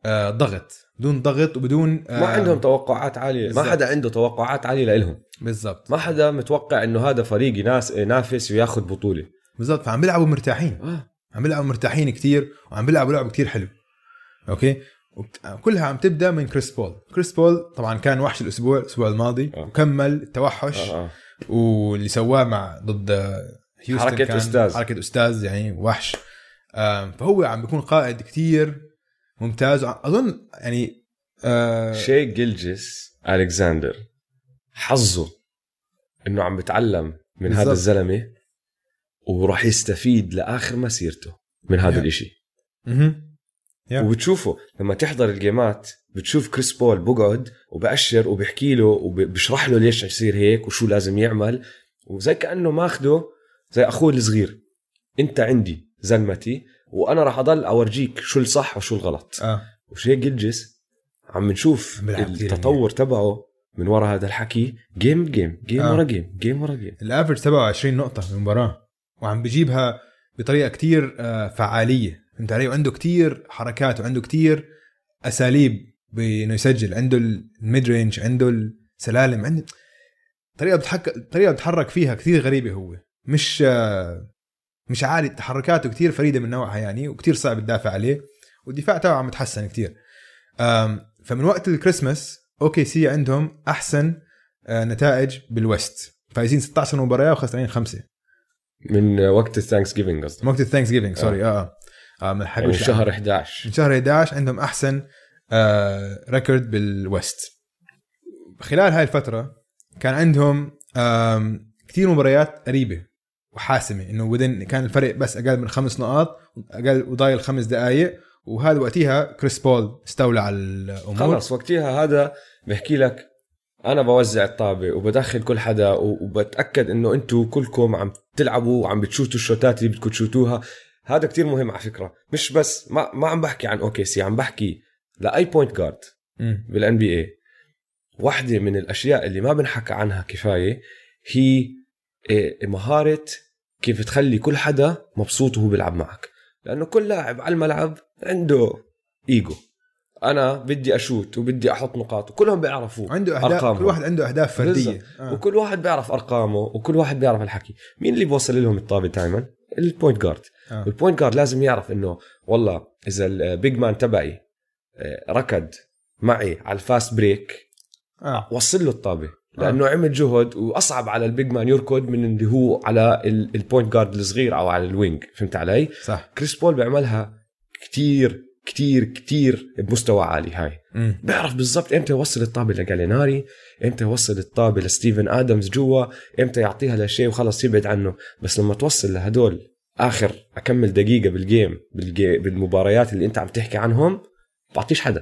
آه ضغط بدون ضغط وبدون آه،
ما عندهم توقعات عاليه
بالضبط.
ما حدا عنده توقعات عاليه لهم
بالضبط
ما حدا متوقع انه هذا فريق يناس ينافس وياخذ بطوله
بالضبط فعم بيلعبوا مرتاحين
آه.
عم بيلعبوا مرتاحين كتير وعم بيلعبوا لعب كتير حلو اوكي وبت- كلها عم تبدا من كريس بول كريس بول طبعا كان وحش الاسبوع الاسبوع الماضي
آه.
وكمل التوحش
آه.
واللي سواه مع ضد هيوستن
حركة
كان
أستاذ.
حركه استاذ يعني وحش آم، فهو عم بيكون قائد كتير ممتاز وع- اظن يعني آه،
شي جلجس الكساندر حظه انه عم بتعلم من هذا
بالضبط.
الزلمه وراح يستفيد لاخر مسيرته من هذا
Yeah.
الاشي
مهم. Yeah.
وبتشوفه لما تحضر الجيمات بتشوف كريس بول بقعد وبأشر وبحكي له وبشرح له ليش يصير هيك وشو لازم يعمل وزي كأنه ماخده زي أخوه الصغير أنت عندي زلمتي وأنا راح أضل أورجيك شو الصح وشو الغلط
آه.
وشي جلجس عم نشوف
عم بيلعب كتير
التطور تبعه من ورا هذا الحكي جيم جيم جيم
آه.
ورا جيم جيم ورا جيم
الافرج تبعه 20 نقطة بالمباراة وعم بجيبها بطريقة كتير آه، فعالية فهمت علي وعنده كتير حركات وعنده كتير اساليب بانه يسجل عنده الميد رينج عنده السلالم عنده طريقة بتحك... طريقة بتحرك فيها كتير غريبة هو مش آه، مش عالي تحركاته كتير فريدة من نوعها يعني وكتير صعب تدافع عليه والدفاع تبعه عم يتحسن كتير آم، فمن وقت الكريسماس اوكي سي عندهم احسن آه، نتائج بالوست فايزين 16 مباراه وخسرانين خمسه
من وقت الثانكس جيفينج قصدي
وقت الثانكس جيفينج سوري اه اه, آه ما
يعني
حكوش
شهر
من
11
شهر 11 عندهم احسن آه ريكورد بالوست خلال هاي الفتره كان عندهم آم كثير مباريات قريبه وحاسمه انه ودن كان الفرق بس اقل من خمس نقاط اقل وضايل خمس دقائق وهذا وقتها كريس بول استولى على الامور
خلص وقتها هذا بحكي لك انا بوزع الطابه وبدخل كل حدا و- وبتاكد انه انتم كلكم عم تلعبوا وعم بتشوتوا الشوتات اللي بدكم تشوتوها هذا كتير مهم على فكره مش بس ما ما عم بحكي عن اوكي سي عم بحكي لاي بوينت جارد
مم.
بالان بي اي واحده من الاشياء اللي ما بنحكى عنها كفايه هي إيه، مهاره كيف تخلي كل حدا مبسوط وهو بيلعب معك لانه كل لاعب على الملعب عنده ايجو انا بدي اشوت وبدي احط نقاط وكلهم بيعرفوه
عنده اهداف
أرقامهم.
كل واحد عنده اهداف فرديه
بالظبط.
آه.
وكل واحد بيعرف ارقامه وكل واحد بيعرف الحكي مين اللي بوصل لهم الطابه دائما البوينت جارد
آه.
البوينت جارد لازم يعرف انه والله اذا البيج مان تبعي آه، ركض معي على الفاست بريك
آه.
وصل له الطابه لانه عمل جهد واصعب على البيج مان يركض من اللي هو على ال- البوينت جارد الصغير او على الوينج فهمت علي
صح
كريس بول بيعملها كتير كتير كتير بمستوى عالي هاي
مم.
بيعرف بالضبط امتى يوصل الطابه لجاليناري امتى يوصل الطابه لستيفن ادمز جوا امتى يعطيها لشيء وخلص يبعد عنه بس لما توصل لهدول اخر اكمل دقيقه بالجيم بالجي بالمباريات اللي انت عم تحكي عنهم بعطيش حدا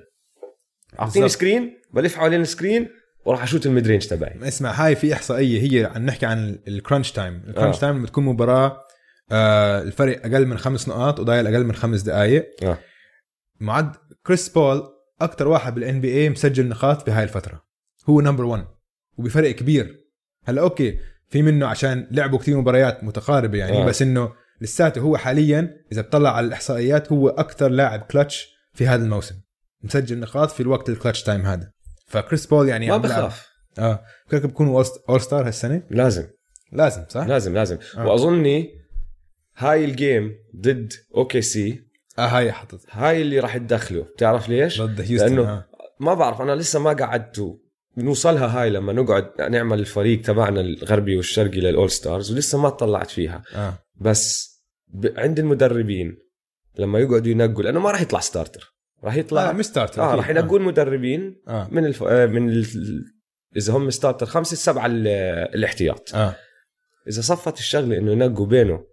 اعطيني
بالضبط. يعني
سكرين بلف حوالين السكرين وراح اشوت الميد رينج تبعي
اسمع هاي في احصائيه هي عم نحكي عن الكرانش تايم الكرانش
آه.
تايم لما تكون مباراه آه الفرق اقل من خمس نقاط وضايل اقل من خمس دقائق
آه.
معد كريس بول اكثر واحد بالان بي اي مسجل نقاط بهاي الفتره هو نمبر 1 وبفرق كبير هلا اوكي في منه عشان لعبوا كثير مباريات متقاربه يعني
آه.
آه. بس انه لساته هو حاليا اذا بتطلع على الاحصائيات هو اكثر لاعب كلتش في هذا الموسم مسجل نقاط في الوقت الكلتش تايم هذا فكريس بول يعني
ما
عم بيلعب-
بخاف
اه فكرك بكون اول ستار هالسنه
لازم
لازم صح
لازم لازم
آه.
واظني هاي الجيم ضد اوكي سي
اه هاي حطت
هاي اللي راح تدخله بتعرف ليش
ضد هيوستن
لأنه-
آه.
ما بعرف انا لسه ما قعدت نوصلها هاي لما نقعد نعمل الفريق تبعنا الغربي والشرقي للاول ستارز ولسه ما طلعت فيها
اه
بس ب... عند المدربين لما يقعدوا ينقوا لانه ما راح يطلع ستارتر راح يطلع
لا
اه,
مش ستارتر
آه
أكيد.
راح ينقوا المدربين
اه
من الف... آه، من ال... اذا هم ستارتر خمسه السبعه ال... الاحتياط
اه
اذا صفت الشغله انه ينقوا بينه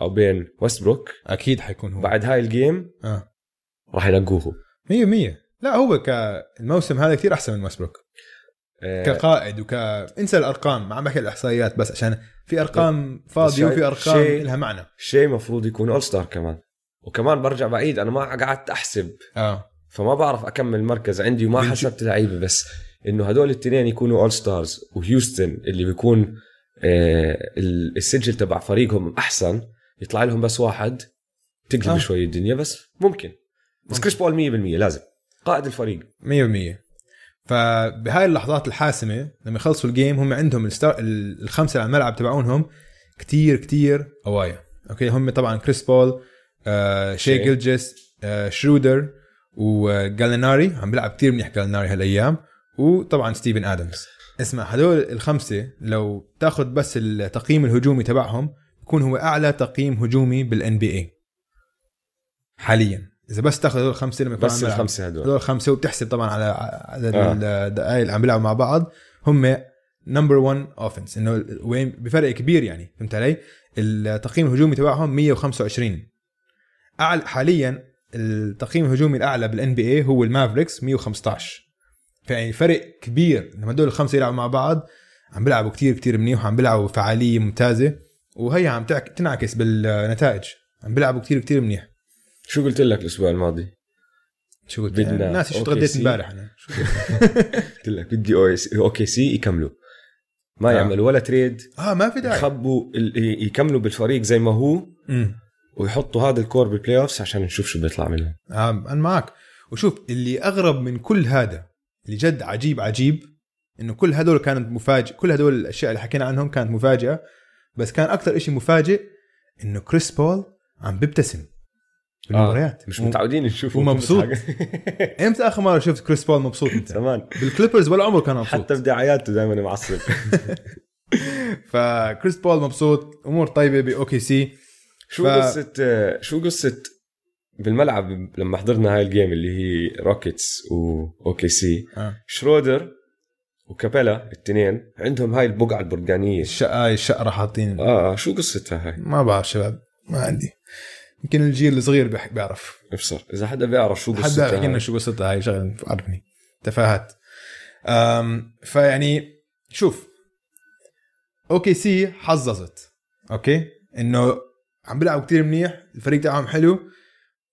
او بين ويستبروك
اكيد حيكون هو
بعد هاي الجيم
اه
راح ينقوه
100% لا هو كالموسم هذا كثير احسن من ويسبروك
آه،
كقائد وك انسى الارقام ما عم بحكي الاحصائيات بس عشان في ارقام فاضيه
شايف
وفي ارقام
شيء-
لها معنى
شيء مفروض يكون اول ستار كمان وكمان برجع بعيد انا ما قعدت احسب
اه
فما بعرف اكمل مركز عندي وما
بنشوف.
حسبت لعيبه بس انه هدول التنين يكونوا اول ستارز وهيوستن اللي بيكون آه ال- السجل تبع فريقهم احسن يطلع لهم بس واحد تقلب
آه.
شوي الدنيا بس ممكن بس
ممكن.
كريس بول 100% لازم قائد الفريق
100% فبهاي اللحظات الحاسمه لما يخلصوا الجيم هم عندهم الستار... ال- الخمسه على الملعب تبعونهم كتير كتير قوايا اوكي هم طبعا كريس بول آه شي
شي.
جلجس آه شرودر وجاليناري عم بيلعب كتير منيح جاليناري هالايام وطبعا ستيفن ادمز اسمع هدول الخمسه لو تاخذ بس التقييم الهجومي تبعهم بكون هو اعلى تقييم هجومي بالان بي اي حاليا اذا بس تاخذ هدول الخمسه لما يكونوا على
بس
الملعب.
الخمسه هدول
هذول خمسه وبتحسب طبعا على عدد
آه.
الدقائق اللي عم بيلعبوا مع بعض هم نمبر 1 اوفنس انه ال- وين بفرق كبير يعني فهمت علي؟ التقييم الهجومي تبعهم 125 اعلى حاليا التقييم الهجومي الاعلى بالان بي اي هو المافريكس 115 فيعني فرق كبير لما هدول الخمسه يلعبوا مع بعض عم بيلعبوا كتير كتير منيح وعم بيلعبوا فعاليه ممتازه وهي عم تعك- تنعكس بالنتائج عم بيلعبوا كتير كتير منيح
شو قلت لك الاسبوع الماضي؟
شو قلت
بدنا
ناسي شو
OKC.
تغديت امبارح انا
قلت لك بدي اوكي سي يكملوا ما
آه.
يعملوا ولا تريد
اه ما في داعي
يخبوا ال- ي- يكملوا بالفريق زي ما هو
امم
ويحطوا هذا الكور بالبلاي اوفس عشان نشوف شو بيطلع منهم
آه، انا معك وشوف اللي اغرب من كل هذا اللي جد عجيب عجيب انه كل هدول كانت مفاجئ كل هدول الاشياء اللي حكينا عنهم كانت مفاجئه بس كان اكثر شيء مفاجئ انه كريس بول عم بيبتسم بالمباريات
آه، مش
و-
متعودين نشوفه
ومبسوط.
بيضحك.
امتى اخر مره شفت كريس بول مبسوط انت
زمان
بالكليبرز ولا عمره كان مبسوط
حتى بدعاياته دائما معصب
فكريس بول مبسوط امور طيبه باوكي سي
شو
ف-
ف... قصة شو قصة بالملعب لما حضرنا هاي الجيم اللي هي روكيتس واوكي سي
آه.
شرودر وكابيلا التنين عندهم هاي البقعة البرجانية
الشقه الشقره حاطين
اه شو قصتها هاي
ما بعرف شباب ما عندي يمكن الجيل الصغير بيح- بيعرف
ابصر اذا حدا بيعرف شو
حد
قصتها
احكي لنا
هاي.
شو قصتها هاي شغله عرفني تفاهات أم، فيعني شوف اوكي سي حظظت اوكي انه عم بيلعبوا كتير منيح الفريق تاعهم حلو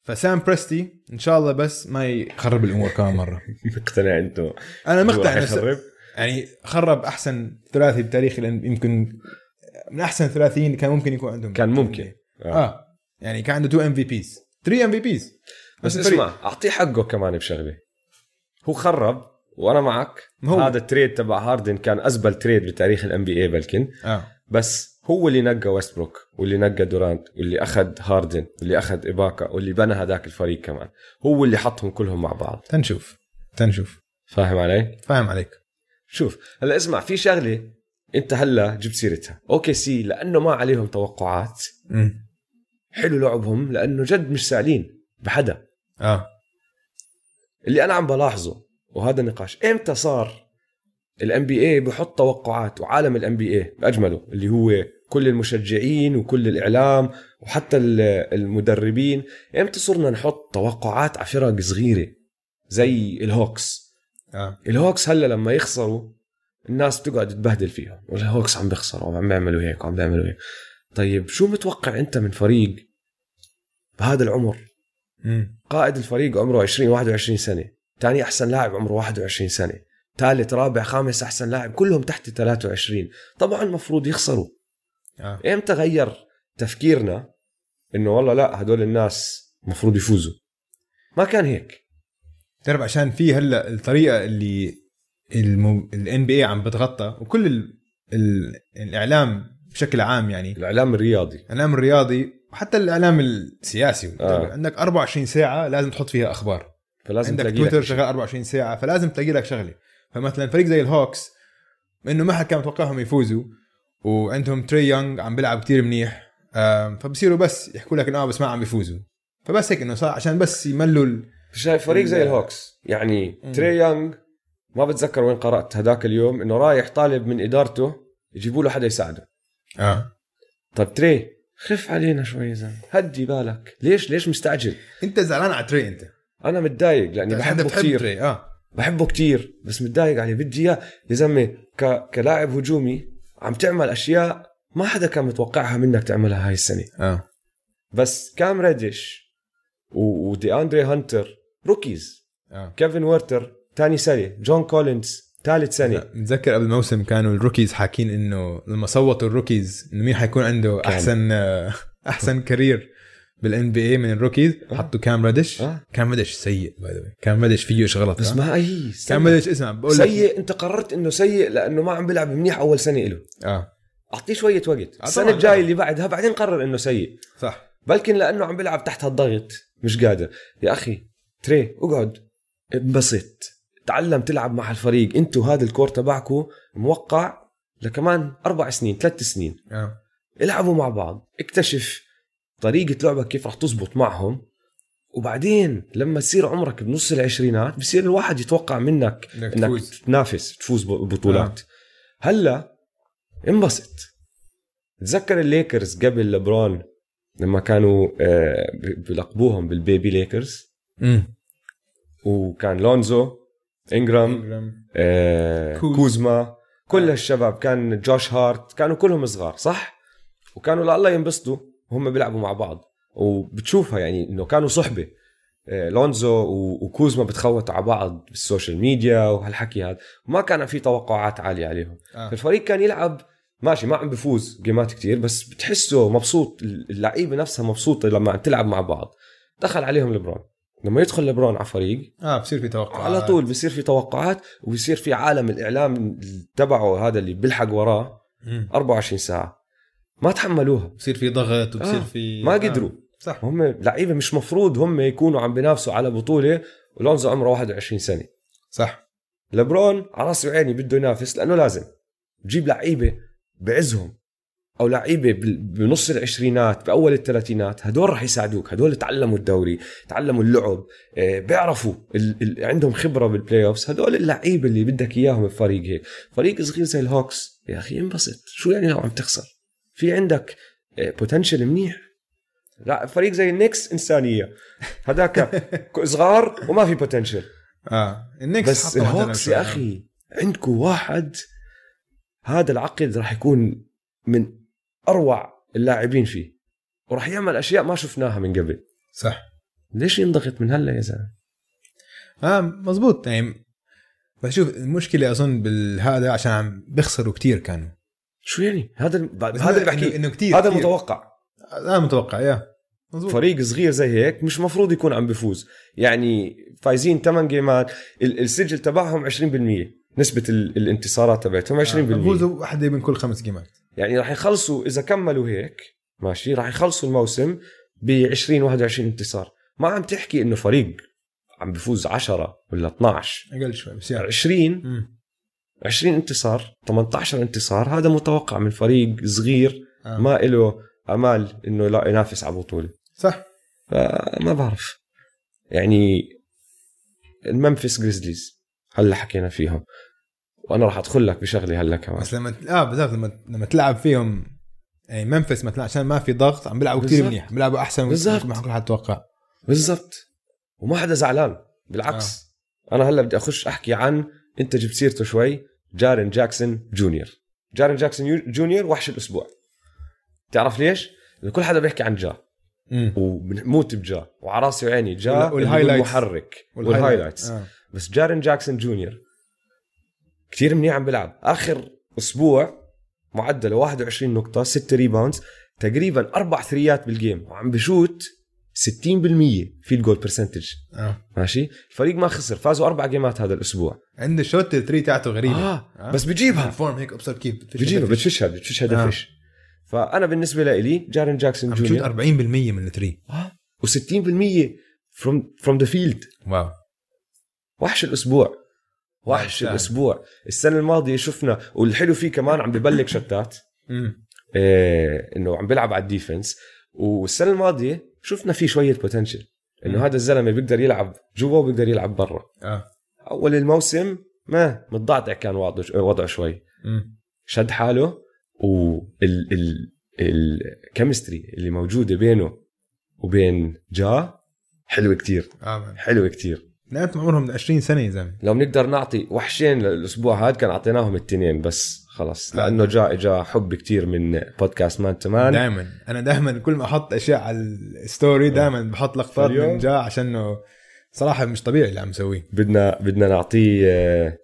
فسام بريستي ان شاء الله بس ما يخرب الامور كمان مره
مقتنع انت
انا مقتنع
راح
نفسي
يخرب؟
يعني خرب احسن ثلاثي بتاريخ ال- يمكن من احسن ثلاثيين اللي كان ممكن يكون عندهم
كان ممكن.
اه, آه. يعني كان عنده 2 ام في بيز 3 ام في بيز
بس اسمع اعطيه حقه كمان بشغله هو خرب وانا معك
هو.
هو. هذا التريد تبع هاردن كان ازبل تريد بتاريخ الام بي اي بلكن
اه
بس هو اللي نقى ويستبروك واللي نقى دورانت واللي اخذ هاردن واللي اخذ اباكا واللي بنى هذاك الفريق كمان هو اللي حطهم كلهم مع بعض
تنشوف تنشوف
فاهم علي
فاهم عليك
شوف هلا اسمع في شغله انت هلا جبت سيرتها اوكي سي لانه ما عليهم توقعات
امم
حلو لعبهم لانه جد مش سالين بحدا
اه
اللي انا عم بلاحظه وهذا نقاش امتى صار الام بي اي بحط توقعات وعالم الام بي اي باجمله اللي هو كل المشجعين وكل الاعلام وحتى ال- المدربين امتى صرنا نحط توقعات على فرق صغيره زي الهوكس
اه
الهوكس هلا لما يخسروا الناس بتقعد تبهدل فيهم والهوكس عم بيخسروا وعم بيعملوا هيك وعم بيعملوا هيك طيب شو متوقع انت من فريق بهذا العمر
امم
قائد الفريق عمره 20 21 سنه ثاني احسن لاعب عمره 21 سنه ثالث رابع خامس احسن لاعب كلهم تحت 23 طبعا المفروض يخسروا
اه
امتى غير تفكيرنا انه والله لا هدول الناس مفروض يفوزوا ما كان هيك
تعرف عشان في هلا الطريقه اللي الان بي اي عم بتغطى وكل ال... ال... الاعلام بشكل عام يعني
الاعلام الرياضي
الاعلام الرياضي وحتى الاعلام السياسي
آه.
عندك 24 ساعه لازم تحط فيها اخبار
فلازم
عندك
تلاقي
تويتر
لك
شغال 24 ساعه فلازم تلاقي لك شغله فمثلا فريق زي الهوكس انه ما حد كان متوقعهم يفوزوا وعندهم تري يونغ عم بيلعب كتير منيح آم، فبصيروا بس يحكوا لك انه آه بس ما عم بيفوزوا فبس هيك انه صار عشان بس يملوا ال...
شايف فريق زي
ال-
الهوكس يعني
مم.
تري يونغ ما بتذكر وين قرات هداك اليوم انه رايح طالب من ادارته يجيبوا له حدا يساعده
اه
طب تري خف علينا شوي يا زلمه هدي بالك ليش ليش مستعجل
انت زعلان على تري انت
انا متضايق لاني
عشان
بحبه
بتحب
كثير
تري اه
بحبه كثير بس متضايق عليه بدي اياه يا زلمه ك... كلاعب هجومي عم تعمل اشياء ما حدا كان متوقعها منك تعملها هاي السنه
اه
بس كام ريديش و... ودي اندري هانتر روكيز
اه
كيفن ورتر ثاني سنه جون كولينز ثالث سنه
متذكر قبل الموسم كانوا الروكيز حاكين انه لما صوتوا الروكيز انه مين حيكون عنده
كان.
احسن احسن كارير بالان بي اي من الروكيز
آه.
حطوا كام رادش
آه.
كام رادش سيء باي ذا كام رادش فيه شيء غلط
بس
آه.
ما اي
كام رادش اسمع بقول لك
سيء انت قررت انه سيء لانه ما عم بيلعب منيح اول سنه له
اه
اعطيه شويه وقت
آه، طبعاً.
السنه الجايه اللي بعدها بعدين قرر انه سيء
صح
بلكن لانه عم بيلعب تحت هالضغط مش قادر يا اخي تري اقعد انبسط تعلم تلعب مع الفريق انتوا هذا الكور تبعكم موقع لكمان اربع سنين ثلاث سنين
اه
العبوا مع بعض اكتشف طريقة لعبك كيف رح تزبط معهم وبعدين لما تصير عمرك بنص العشرينات بصير الواحد يتوقع منك
انك
انك
تفوز
تنافس تفوز ببطولات هلا انبسط تذكر الليكرز قبل لبرون لما كانوا آه، ب- بلقبوهم بالبيبي ليكرز
امم
وكان لونزو انجرام آه،
كوز.
كوزما كل
آه.
هالشباب كان جوش هارت كانوا كلهم صغار صح وكانوا لله ينبسطوا وهم بيلعبوا مع بعض وبتشوفها يعني انه كانوا صحبه آه، لونزو و- وكوزما بتخوتوا على بعض بالسوشيال ميديا وهالحكي هذا ما كان في توقعات عاليه عليهم
آه.
الفريق كان يلعب ماشي ما عم بفوز جيمات كتير بس بتحسه مبسوط اللعيبه نفسها مبسوطه لما عم تلعب مع بعض دخل عليهم لبرون لما يدخل لبرون على فريق
اه بصير في توقع
على طول بصير في توقعات وبصير في عالم الاعلام تبعه هذا اللي بيلحق وراه 24 ساعه ما تحملوها
بصير في ضغط وبصير
آه.
في
ما قدروا
آه. صح
هم لعيبه مش مفروض هم يكونوا عم بينافسوا على بطوله ولونزو عمره 21 سنه
صح
لبرون على راسي وعيني بده ينافس لانه لازم جيب لعيبه بعزهم او لعيبه بال- بنص العشرينات باول الثلاثينات هدول رح يساعدوك هدول تعلموا الدوري تعلموا اللعب آه، بيعرفوا ال... ال... عندهم خبره بالبلاي اوفز هدول اللعيبه اللي بدك اياهم بفريق هيك فريق صغير زي الهوكس يا اخي انبسط شو يعني لو عم تخسر في عندك بوتنشل منيح لا فريق زي النكس انسانيه هذاك صغار وما في بوتنشل
اه النكس
بس
حطوا عندنا
الهوكس
شوي.
يا اخي عندكم واحد هذا العقد راح يكون من اروع اللاعبين فيه وراح يعمل اشياء ما شفناها من قبل
صح
ليش ينضغط من هلا يا زلمه
اه مزبوط يعني بشوف المشكله اظن بالهذا عشان عم بيخسروا كتير كانوا
شو يعني هذا ال-
بس
هذا اللي
إنه-
بحكيه
انه كتير
هذا
كتير.
متوقع
هذا متوقع يا مزبوط
فريق صغير زي هيك مش مفروض يكون عم بفوز يعني فايزين 8 جيمات ال- السجل تبعهم 20% نسبة ال- الانتصارات تبعتهم 20%
بفوزوا واحده آه، من كل خمس جيمات
يعني راح يخلصوا اذا كملوا هيك ماشي راح يخلصوا الموسم ب 20 21 انتصار ما عم تحكي انه فريق عم بفوز 10 ولا 12
اقل شوي بس يعني
20
مم.
20 انتصار 18 انتصار هذا متوقع من فريق صغير
آه.
ما له امال انه لا ينافس على بطوله
صح
فما بعرف يعني المنفس جريزليز هلا حكينا فيهم وانا راح ادخل لك بشغله هلا كمان
بس لما اه بالذات لما لما تلعب فيهم يعني منفس مثلا عشان ما في ضغط عم بيلعبوا كثير
بالظبط.
منيح عم بيلعبوا احسن
بالظبط.
ما كل حد توقع
بالضبط وما حدا زعلان بالعكس آه. انا هلا بدي اخش احكي عن انت جبت سيرته شوي جارن جاكسون جونيور جارن جاكسون يو- جونيور وحش الاسبوع تعرف ليش؟ لأن كل حدا بيحكي عن جا
امم
وبنموت بجا وعلى راسي وعيني جا
وال-
اللي هو
والهايلايتس.
المحرك والهايلايتس
آه.
بس جارن جاكسون جونيور كثير منيح عم بيلعب اخر اسبوع معدله 21 نقطه 6 ريباوندز تقريبا اربع ثريات بالجيم وعم بشوت 60% فيلد جول برسنتج
آه.
ماشي الفريق ما خسر فازوا اربع جيمات هذا الاسبوع
عنده شوت الثري تاعته غريبه
آه.
آه.
بس بيجيبها
الفورم هيك ابصر كيف بتفش-
بيجيبها
بتفش.
بتفشها بتفشها
آه.
دفش فانا بالنسبه لي جارن جاكسون
عم بشوت
جونيور
40% من الثري
و60% فروم فروم ذا فيلد
واو
وحش الاسبوع وحش
نعم.
الاسبوع السنه الماضيه شفنا والحلو فيه كمان عم ببلك شتات
امم
إيه انه عم بيلعب على الديفنس والسنه الماضيه شفنا فيه شويه بوتنشل
مم.
انه هذا الزلمه بيقدر يلعب جوا وبيقدر يلعب برا
اه
اول الموسم ما متضعضع كان وضعه وضعه شوي
امم
شد حاله وال ال الكيمستري اللي موجوده بينه وبين جا حلوه كتير
اه مان.
حلوه كتير
لعبت عمرهم 20 سنه يا زلمه
لو بنقدر نعطي وحشين الاسبوع هاد كان اعطيناهم التنين بس خلص لانه جاء جاء حب كتير من بودكاست مان تو مان
دائما انا دائما كل ما احط اشياء على الستوري دائما بحط لقطات
اليوم؟
من جا عشان إنه صراحه مش طبيعي اللي عم يسويه
بدنا بدنا نعطيه آه،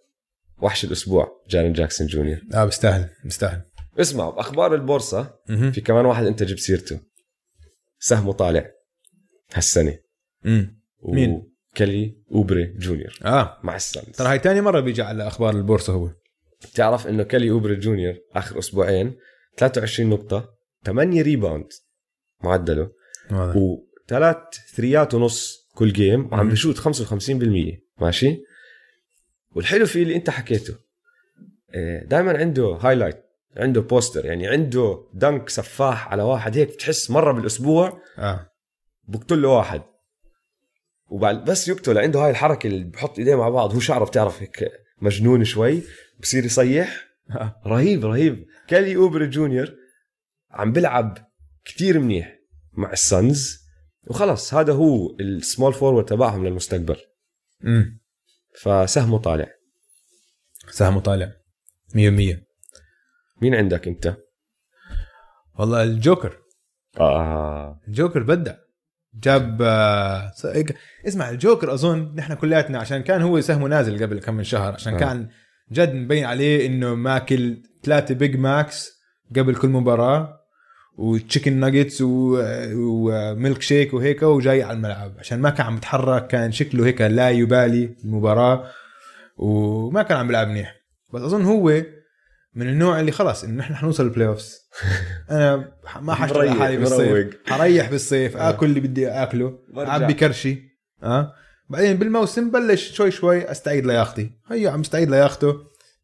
وحش الاسبوع جارين جاكسون جونيور
اه بستاهل بستاهل
اسمعوا باخبار البورصه
مهم.
في كمان واحد انت جبت سيرته سهمه طالع هالسنه
امم
و-
مين؟
كلي اوبري جونيور
اه
مع السانز
ترى هاي ثاني مره بيجي على اخبار البورصه هو
بتعرف انه كالي اوبري جونيور اخر اسبوعين 23 نقطة 8 ريباوند معدله
واضح
وثلاث ثريات ونص كل جيم وعم
مم.
بشوت 55% ماشي والحلو فيه اللي انت حكيته دائما عنده هايلايت عنده بوستر يعني عنده دنك سفاح على واحد هيك بتحس مرة بالاسبوع
اه
بقتل له واحد وبعد بس يقتل عنده هاي الحركة اللي بحط ايديه مع بعض هو شعره بتعرف هيك مجنون شوي بصير يصيح
آه.
رهيب رهيب كالي اوبري جونيور عم بلعب كتير منيح مع السانز وخلص هذا هو السمول فورورد تبعهم للمستقبل
امم
فسهمه طالع
سهمه طالع 100%
مين عندك انت؟
والله الجوكر
اه
الجوكر بدع جاب آه، س- إج- اسمع الجوكر اظن نحن كلياتنا عشان كان هو سهمه نازل قبل كم من شهر عشان
آه.
كان جد مبين عليه انه ماكل ثلاثه بيج ماكس قبل كل مباراه وتشيكن ناجتس وميلك شيك وهيك وجاي على الملعب عشان ما كان عم يتحرك كان شكله هيك لا يبالي المباراه وما كان عم بيلعب منيح بس اظن هو من النوع اللي خلاص انه نحن حنوصل البلاي اوفس انا ما حشتغل
مريح،
حالي بالصيف
مروق.
حريح بالصيف
آه.
اكل اللي بدي اكله
برجع.
عبي كرشي اه بعدين بالموسم بلش شوي شوي استعيد لياقتي هيا عم استعيد لياقته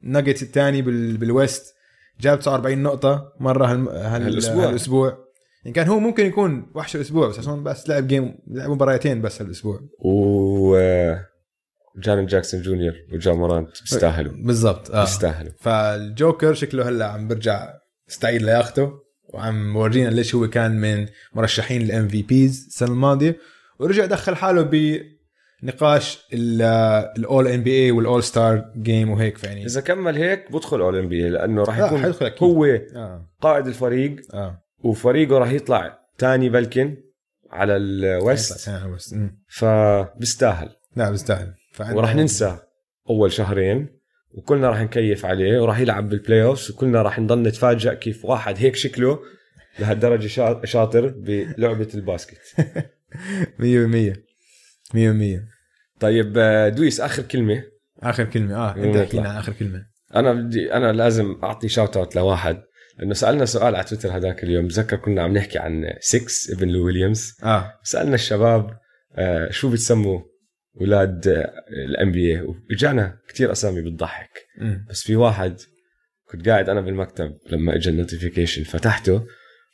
الناجتس الثاني بال... بالويست جاب 49 نقطة مرة هال... هال...
هالأسبوع.
هالاسبوع يعني كان هو ممكن يكون وحش الاسبوع بس عشان بس لعب جيم لعب مباراتين بس هالاسبوع
و جارين جاكسون جونيور وجامورانت بيستاهلوا
بالضبط
آه.
اه
بيستاهلوا
فالجوكر شكله هلا عم برجع استعيد لياقته وعم ورجينا ليش هو كان من مرشحين الام في بيز السنه الماضيه ورجع دخل حاله بنقاش الاول ان بي اي والاول ستار جيم وهيك فيعني
اذا كمل هيك بدخل اولمبيا لانه راح
لا،
يكون
حيدخل أكيد.
هو
اه
قائد الفريق
اه
وفريقه راح يطلع تاني بلكن على
حيطلع
الويست
سنة على الوست. أمم.
فبيستاهل
لا بيستاهل فعندنا-
وراح ننسى اول شهرين وكلنا راح نكيف عليه وراح يلعب بالبلاي اوفس وكلنا راح نضل نتفاجئ كيف واحد هيك شكله لهالدرجه شا- شاطر بلعبه الباسكت
100% 100%
طيب آه، دويس اخر كلمه
اخر كلمه اه انت
يلا
حكينا
نطلع.
عن اخر كلمه
انا بدي انا لازم اعطي شاوت اوت لواحد لانه سالنا سؤال على تويتر هذاك اليوم بتذكر كنا عم نحكي عن 6 ابن لو ويليامز
اه
سالنا الشباب آه، شو بتسموا آه، اولاد الان بي اي واجانا كثير اسامي بتضحك
أمم.
بس في واحد كنت قاعد انا بالمكتب لما اجى النوتيفيكيشن فتحته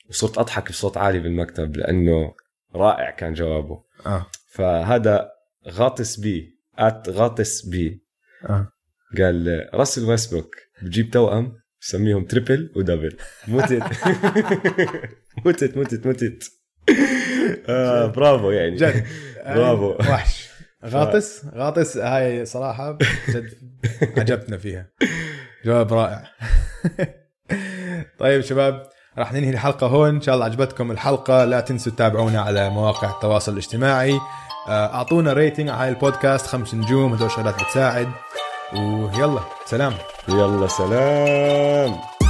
وصرت اضحك بصوت عالي بالمكتب لانه رائع كان جوابه
اه
فهذا غاطس بي ات غاطس بي
اه
قال راسل ويسبروك بجيب توأم بسميهم تريبل ودبل متت متت متت متت آه برافو يعني
جد
برافو.
وحش غاطس غاطس هاي صراحة جد عجبتنا فيها جواب رائع طيب شباب راح ننهي الحلقة هون إن شاء الله عجبتكم الحلقة لا تنسوا تتابعونا على مواقع التواصل الاجتماعي آه، أعطونا ريتنج على هاي البودكاست خمس نجوم هدول شغلات بتساعد ويلا سلام
يلا سلام